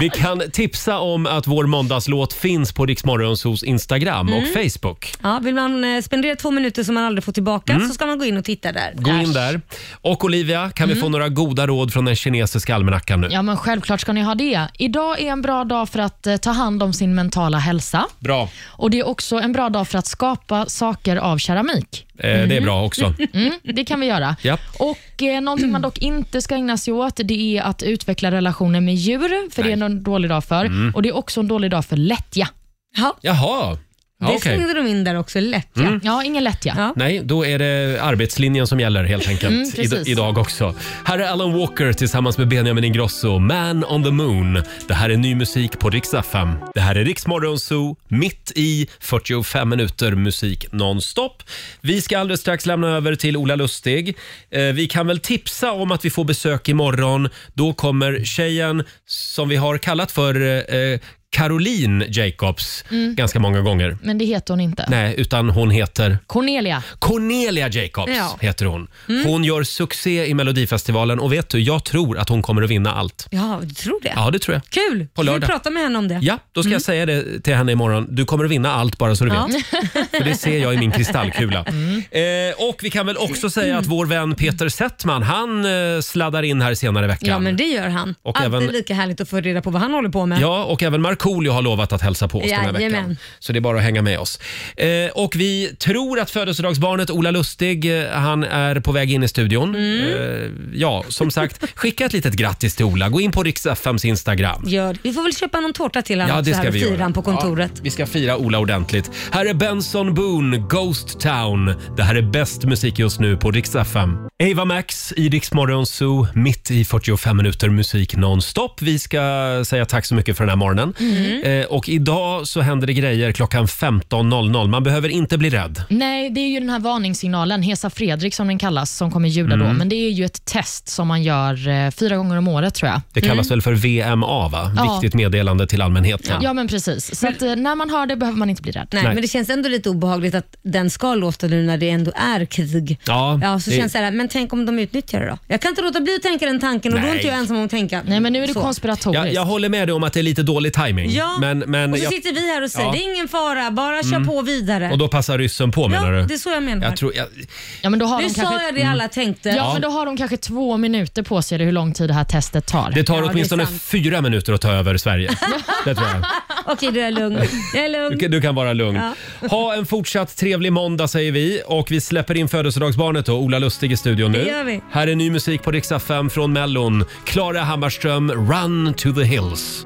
S1: Vi kan tipsa om att vår måndagslåt finns på Rix Morgon Zoos Instagram och
S2: Mm.
S1: Facebook.
S2: Ja, vill man eh, spendera två minuter som man aldrig får tillbaka
S1: Mm.
S2: så ska man gå in och titta där.
S1: Gå in där. Och Olivia, kan vi
S6: Mm.
S1: få några goda råd från den kinesiska almanackan nu?
S6: Ja, men självklart ska ni ha det. Idag är en bra dag för att eh, ta hand om sin mentala hälsa.
S1: Bra. Eh,
S6: Och Det är också en bra dag för att skapa saker av keramik.
S1: Eh, Det är bra också.
S6: Mm, det kan vi göra.
S1: Ja.
S6: Och eh, Någonting man dock inte ska ägna sig åt det är att utveckla relationer med djur, för det är en dålig dag för.
S1: Mm.
S6: Och Det är också en dålig dag för lättja.
S2: Ja.
S1: Jaha. Ja,
S2: det
S1: okej.
S2: slängde de in där också, lättja.
S1: Mm.
S6: Ja, ingen lättja.
S1: Nej, då är det arbetslinjen som gäller helt
S6: Mm,
S1: enkelt
S6: precis.
S1: i, idag också. Här är Alan Walker tillsammans med Benjamin Ingrosso, Man on the Moon. Det här är ny musik på Rix FM. Det här är Rix Morgon Zoo, mitt i 45 minuter musik nonstop. Vi ska alldeles strax lämna över till Ola Lustig. Eh, vi kan väl tipsa om att vi får besök imorgon. Då kommer tjejen som vi har kallat för eh, Caroline Jacobs
S6: Mm.
S1: ganska många gånger.
S6: Men det heter hon inte.
S1: Nej, utan hon heter...
S6: Cornelia.
S1: Cornelia Jacobs
S6: Ja.
S1: heter hon.
S6: Mm.
S1: Hon gör succé i Melodifestivalen och vet du, jag tror att hon kommer att vinna allt.
S2: Ja, du tror det?
S1: Ja, det tror jag.
S2: Kul! Mm.
S1: På
S2: Ska Vi
S1: lördag.
S2: prata med henne om det.
S1: Ja, då ska jag säga det till henne imorgon. Du kommer att vinna allt bara så du vet. För det ser jag i min kristallkula.
S2: Mm.
S1: Eh, och vi kan väl också säga att vår vän Peter Settman, han eh, sladdar in här senare i veckan.
S2: Ja, men det gör han.
S1: Och
S2: Alltid
S1: även-
S2: lika härligt att få reda på vad han håller på med.
S1: Ja, och även Markoolio har lovat att hälsa på oss den här veckan.
S2: Jajamän.
S1: Så det är bara att hänga med oss. Eh, och vi tror att födelsedagsbarnet Ola Lustig, eh, han är på väg in i studion.
S2: Mm.
S1: Eh, ja, som sagt, skicka ett litet grattis till Ola. Gå in på Rix FMs Instagram.
S2: Gör det. Vi får väl köpa någon tårta till honom
S1: Ja,
S2: också
S1: det
S2: här
S1: ska
S2: och
S1: vi
S2: fira
S1: göra.
S2: honom på kontoret.
S1: Ja, vi ska fira Ola ordentligt. Här är Benson Boone, Ghost Town. Det här är bäst musik just nu på Rix FM. Ava Max i Rix Morgon Zoo, mitt i 45 minuter musik nonstop. Vi ska säga tack så mycket för den här morgonen.
S6: Mm.
S1: Eh, och idag så händer det grejer klockan 15.00. Man behöver inte bli rädd.
S6: Nej, det är ju den här varningssignalen, Hesa Fredrik som den kallas, som kommer ljuda då.
S1: Mm.
S6: Men det är ju ett test som man gör eh, fyra gånger om året tror jag.
S1: Det
S2: Mm.
S1: kallas väl för VMA, va?
S6: Ja.
S1: Viktigt meddelande till allmänheten.
S6: Ja. ja, men precis. Så att, eh, när man hör det behöver man inte bli rädd.
S2: Nej, men det känns ändå lite obehagligt att den ska låta nu när det ändå är krig.
S1: Ja,
S2: Ja, så
S1: det-
S2: känns det här, men tänk om de utnyttjar det då? Jag kan inte låta bli att tänka den tanken och då är
S1: Nej.
S2: inte jag ensam om att tänka. Nej,
S6: men nu är det konspiratoriskt.
S1: Jag, jag håller med dig om att det är lite dålig timing.
S2: Ja,
S1: men, men
S2: och så
S1: jag-
S2: sitter vi här och säger
S1: Ja.
S2: det är ingen fara, bara kör
S1: Mm.
S2: på vidare.
S1: Och då passar ryssen på menar
S2: ja,
S1: du?
S2: det är så jag menar.
S1: Jag tror, jag,
S6: Ja, men då har
S2: nu
S6: de
S2: sa
S6: kanske...
S2: jag det alla tänkte.
S6: Ja, men då har de kanske två minuter på sig eller hur lång tid det här testet tar.
S1: det tar åtminstone fyra minuter att ta över Sverige. det tror jag.
S2: Okej, du är lugn. Jag är
S1: Du,
S2: lugn.
S1: kan- du kan vara lugn.
S2: Ja.
S1: Ha en fortsatt trevlig måndag säger vi. Och vi släpper in födelsedagsbarnet då, Ola Lustig i studion nu.
S2: Det gör vi.
S1: Här är ny musik på Riksa 5 från Mellon. Klara Hammarström, Run to the Hills.